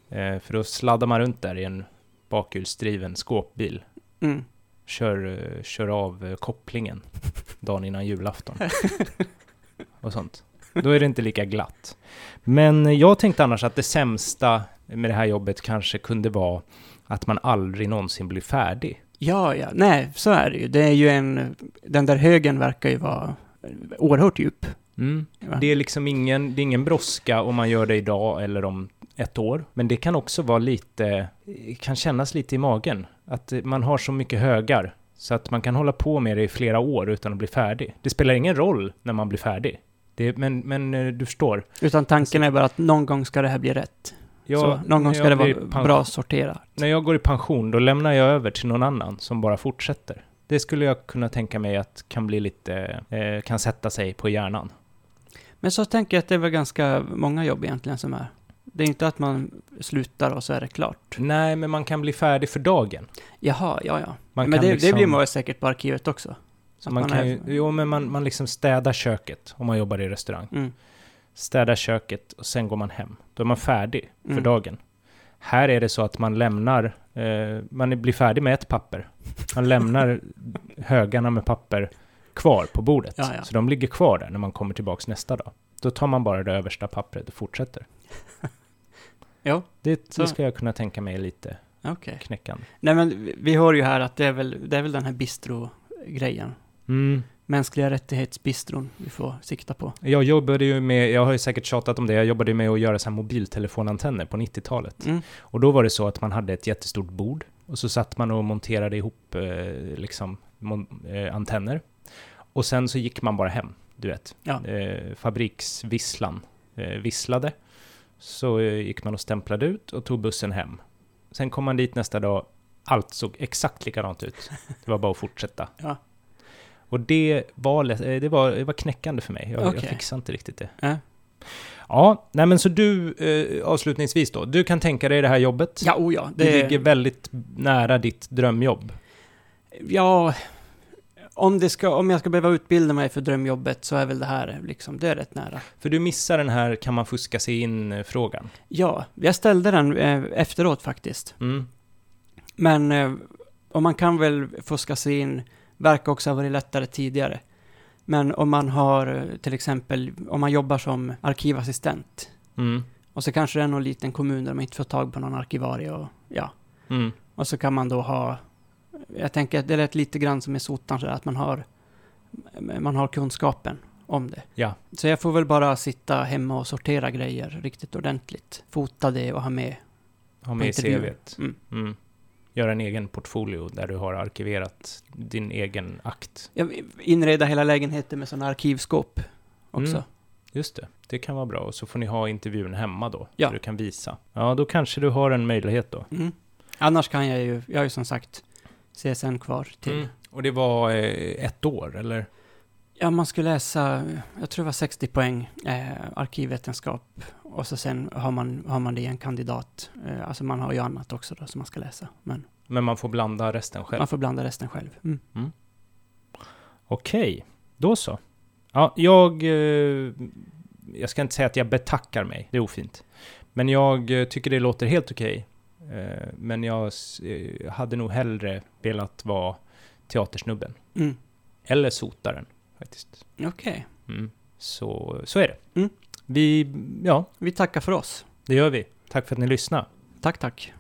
[SPEAKER 2] Eh, För då sladdar man runt där i en bakhjulsdriven skåpbil.
[SPEAKER 1] Mm.
[SPEAKER 2] Kör, eh, kör av eh, kopplingen dagen innan julafton. Och sånt. Då är det inte lika glatt. Men jag tänkte annars att det sämsta med det här jobbet kanske kunde vara att man aldrig någonsin blir färdig.
[SPEAKER 1] Ja, ja, nej, så är det ju. Det är ju en, den där högen verkar ju vara oerhört djup.
[SPEAKER 2] Mm.
[SPEAKER 1] Va?
[SPEAKER 2] Det är liksom ingen, det är ingen brådska om man gör det idag eller om ett år. Men det kan också vara lite, kan kännas lite i magen. Att eh, man har så mycket högar så att man kan hålla på med det i flera år utan att bli färdig. Det spelar ingen roll när man blir färdig. Det, men, men eh, du förstår.
[SPEAKER 1] Utan tanken är bara att någon gång ska det här bli rätt.
[SPEAKER 2] Jag,
[SPEAKER 1] så, någon gång
[SPEAKER 2] när
[SPEAKER 1] ska det
[SPEAKER 2] jag
[SPEAKER 1] vara
[SPEAKER 2] blir pen-
[SPEAKER 1] bra sorterat.
[SPEAKER 2] När jag går i pension, då lämnar jag över till någon annan som bara fortsätter. Det skulle jag kunna tänka mig att kan bli lite, eh, kan sätta sig på hjärnan.
[SPEAKER 1] Men så tänker jag att det är väl ganska många jobb egentligen som är. Det är inte att man slutar och så är det klart.
[SPEAKER 2] Nej, men man kan bli färdig för dagen.
[SPEAKER 1] Jaha, ja, ja.
[SPEAKER 2] Man
[SPEAKER 1] Men
[SPEAKER 2] kan
[SPEAKER 1] det, det
[SPEAKER 2] liksom-
[SPEAKER 1] blir man säkert på arkivet också.
[SPEAKER 2] Så
[SPEAKER 1] Att
[SPEAKER 2] man
[SPEAKER 1] man
[SPEAKER 2] kan
[SPEAKER 1] är-
[SPEAKER 2] ju, jo, men man, man liksom städar köket om man jobbar i restaurang.
[SPEAKER 1] Mm.
[SPEAKER 2] Städar köket och sen går man hem. Då är man färdig för
[SPEAKER 1] Mm.
[SPEAKER 2] dagen. Här är det så att man lämnar, eh, man blir färdig med ett papper. Man lämnar högarna med papper kvar på bordet.
[SPEAKER 1] Ja, ja.
[SPEAKER 2] Så de ligger kvar där när man kommer tillbaks nästa dag. Då tar man bara det översta pappret och fortsätter.
[SPEAKER 1] Jo,
[SPEAKER 2] Det,
[SPEAKER 1] Så.
[SPEAKER 2] det ska jag kunna tänka mig är lite
[SPEAKER 1] okej.
[SPEAKER 2] knäckande.
[SPEAKER 1] Nej, men vi- vi hör ju här att det är väl, det är väl den här bistro-grejen.
[SPEAKER 2] Mm.
[SPEAKER 1] Mänskliga rättighetsbistron vi får sikta på.
[SPEAKER 2] Jag jobbade ju med, jag har ju säkert tjatat om det, jag jobbade ju med att göra så här mobiltelefonantenner på 90-talet.
[SPEAKER 1] Mm.
[SPEAKER 2] Och då var det så att man hade ett jättestort bord och så satt man och monterade ihop eh, liksom, mon- eh, antenner. Och sen så gick man bara hem, du vet.
[SPEAKER 1] Ja.
[SPEAKER 2] Eh, fabriksvisslan eh, visslade. Så eh, gick man och stämplade ut och tog bussen hem. Sen kom man dit nästa dag, allt såg exakt likadant ut. Det var bara att fortsätta.
[SPEAKER 1] Ja.
[SPEAKER 2] Och det var, lä- eh, det, var, det var knäckande för mig. Jag,
[SPEAKER 1] Okej.
[SPEAKER 2] jag fixade inte riktigt det.
[SPEAKER 1] Ja.
[SPEAKER 2] Ja, nej men så du, eh, avslutningsvis då, du kan tänka dig det här jobbet?
[SPEAKER 1] Ja, oh ja.
[SPEAKER 2] Det, ligger väldigt nära ditt drömjobb.
[SPEAKER 1] Ja, om, det ska, om jag ska behöva utbilda mig för drömjobbet så är väl det här liksom, det är rätt nära.
[SPEAKER 2] För du missar den här kan man fuska sig in-frågan.
[SPEAKER 1] Ja, jag ställde den eh, efteråt faktiskt.
[SPEAKER 2] Mm.
[SPEAKER 1] Men eh, om man kan väl fuska sig in, verkar också ha varit lättare tidigare. Men om man har eh, till exempel, om man jobbar som arkivassistent
[SPEAKER 2] Mm.
[SPEAKER 1] och så kanske det är någon liten kommun där man inte får tag på någon arkivarie och ja,
[SPEAKER 2] Mm.
[SPEAKER 1] och så kan man då ha, jag tänker att det lät lite grann som i sotan sådär, att man har, man har kunskapen om det.
[SPEAKER 2] Ja.
[SPEAKER 1] Så jag får väl bara sitta hemma och sortera grejer riktigt ordentligt, fota det och ha med.
[SPEAKER 2] Ha med i
[SPEAKER 1] Intervjuer.
[SPEAKER 2] CVt.
[SPEAKER 1] Mm.
[SPEAKER 2] Mm. Gör en egen portfolio där du har arkiverat din egen akt.
[SPEAKER 1] Jag inreda hela lägenheten med sådana arkivskåp också.
[SPEAKER 2] Mm. Just det, det kan vara bra. Och så får ni ha intervjun hemma då,
[SPEAKER 1] Ja.
[SPEAKER 2] så du kan visa. Ja, då kanske du har en möjlighet då.
[SPEAKER 1] Mm. Annars kan jag ju, jag har ju som sagt CSN kvar till.
[SPEAKER 2] Mm. Och det var eh, ett år, eller?
[SPEAKER 1] Ja, man skulle läsa, jag tror det var 60 poäng, eh, arkivvetenskap. Och så sen har man, har man det i en kandidat. Eh, alltså man har ju annat också då som man ska läsa. Men
[SPEAKER 2] Men man får blanda resten själv.
[SPEAKER 1] man får blanda resten själv. Mm.
[SPEAKER 2] Okej, då så. Ja, jag... eh, Jag ska inte säga att jag betackar mig, det är ofint. Men jag eh, tycker det låter helt okej. Eh, Men jag s- eh, hade nog hellre velat vara teatersnubben.
[SPEAKER 1] Mm.
[SPEAKER 2] Eller sotaren, faktiskt.
[SPEAKER 1] Okej,
[SPEAKER 2] Mm. Så, så är det.
[SPEAKER 1] Mm.
[SPEAKER 2] Vi, ja,
[SPEAKER 1] vi tackar för oss.
[SPEAKER 2] det gör vi. Tack för att ni lyssnade.
[SPEAKER 1] Tack, tack.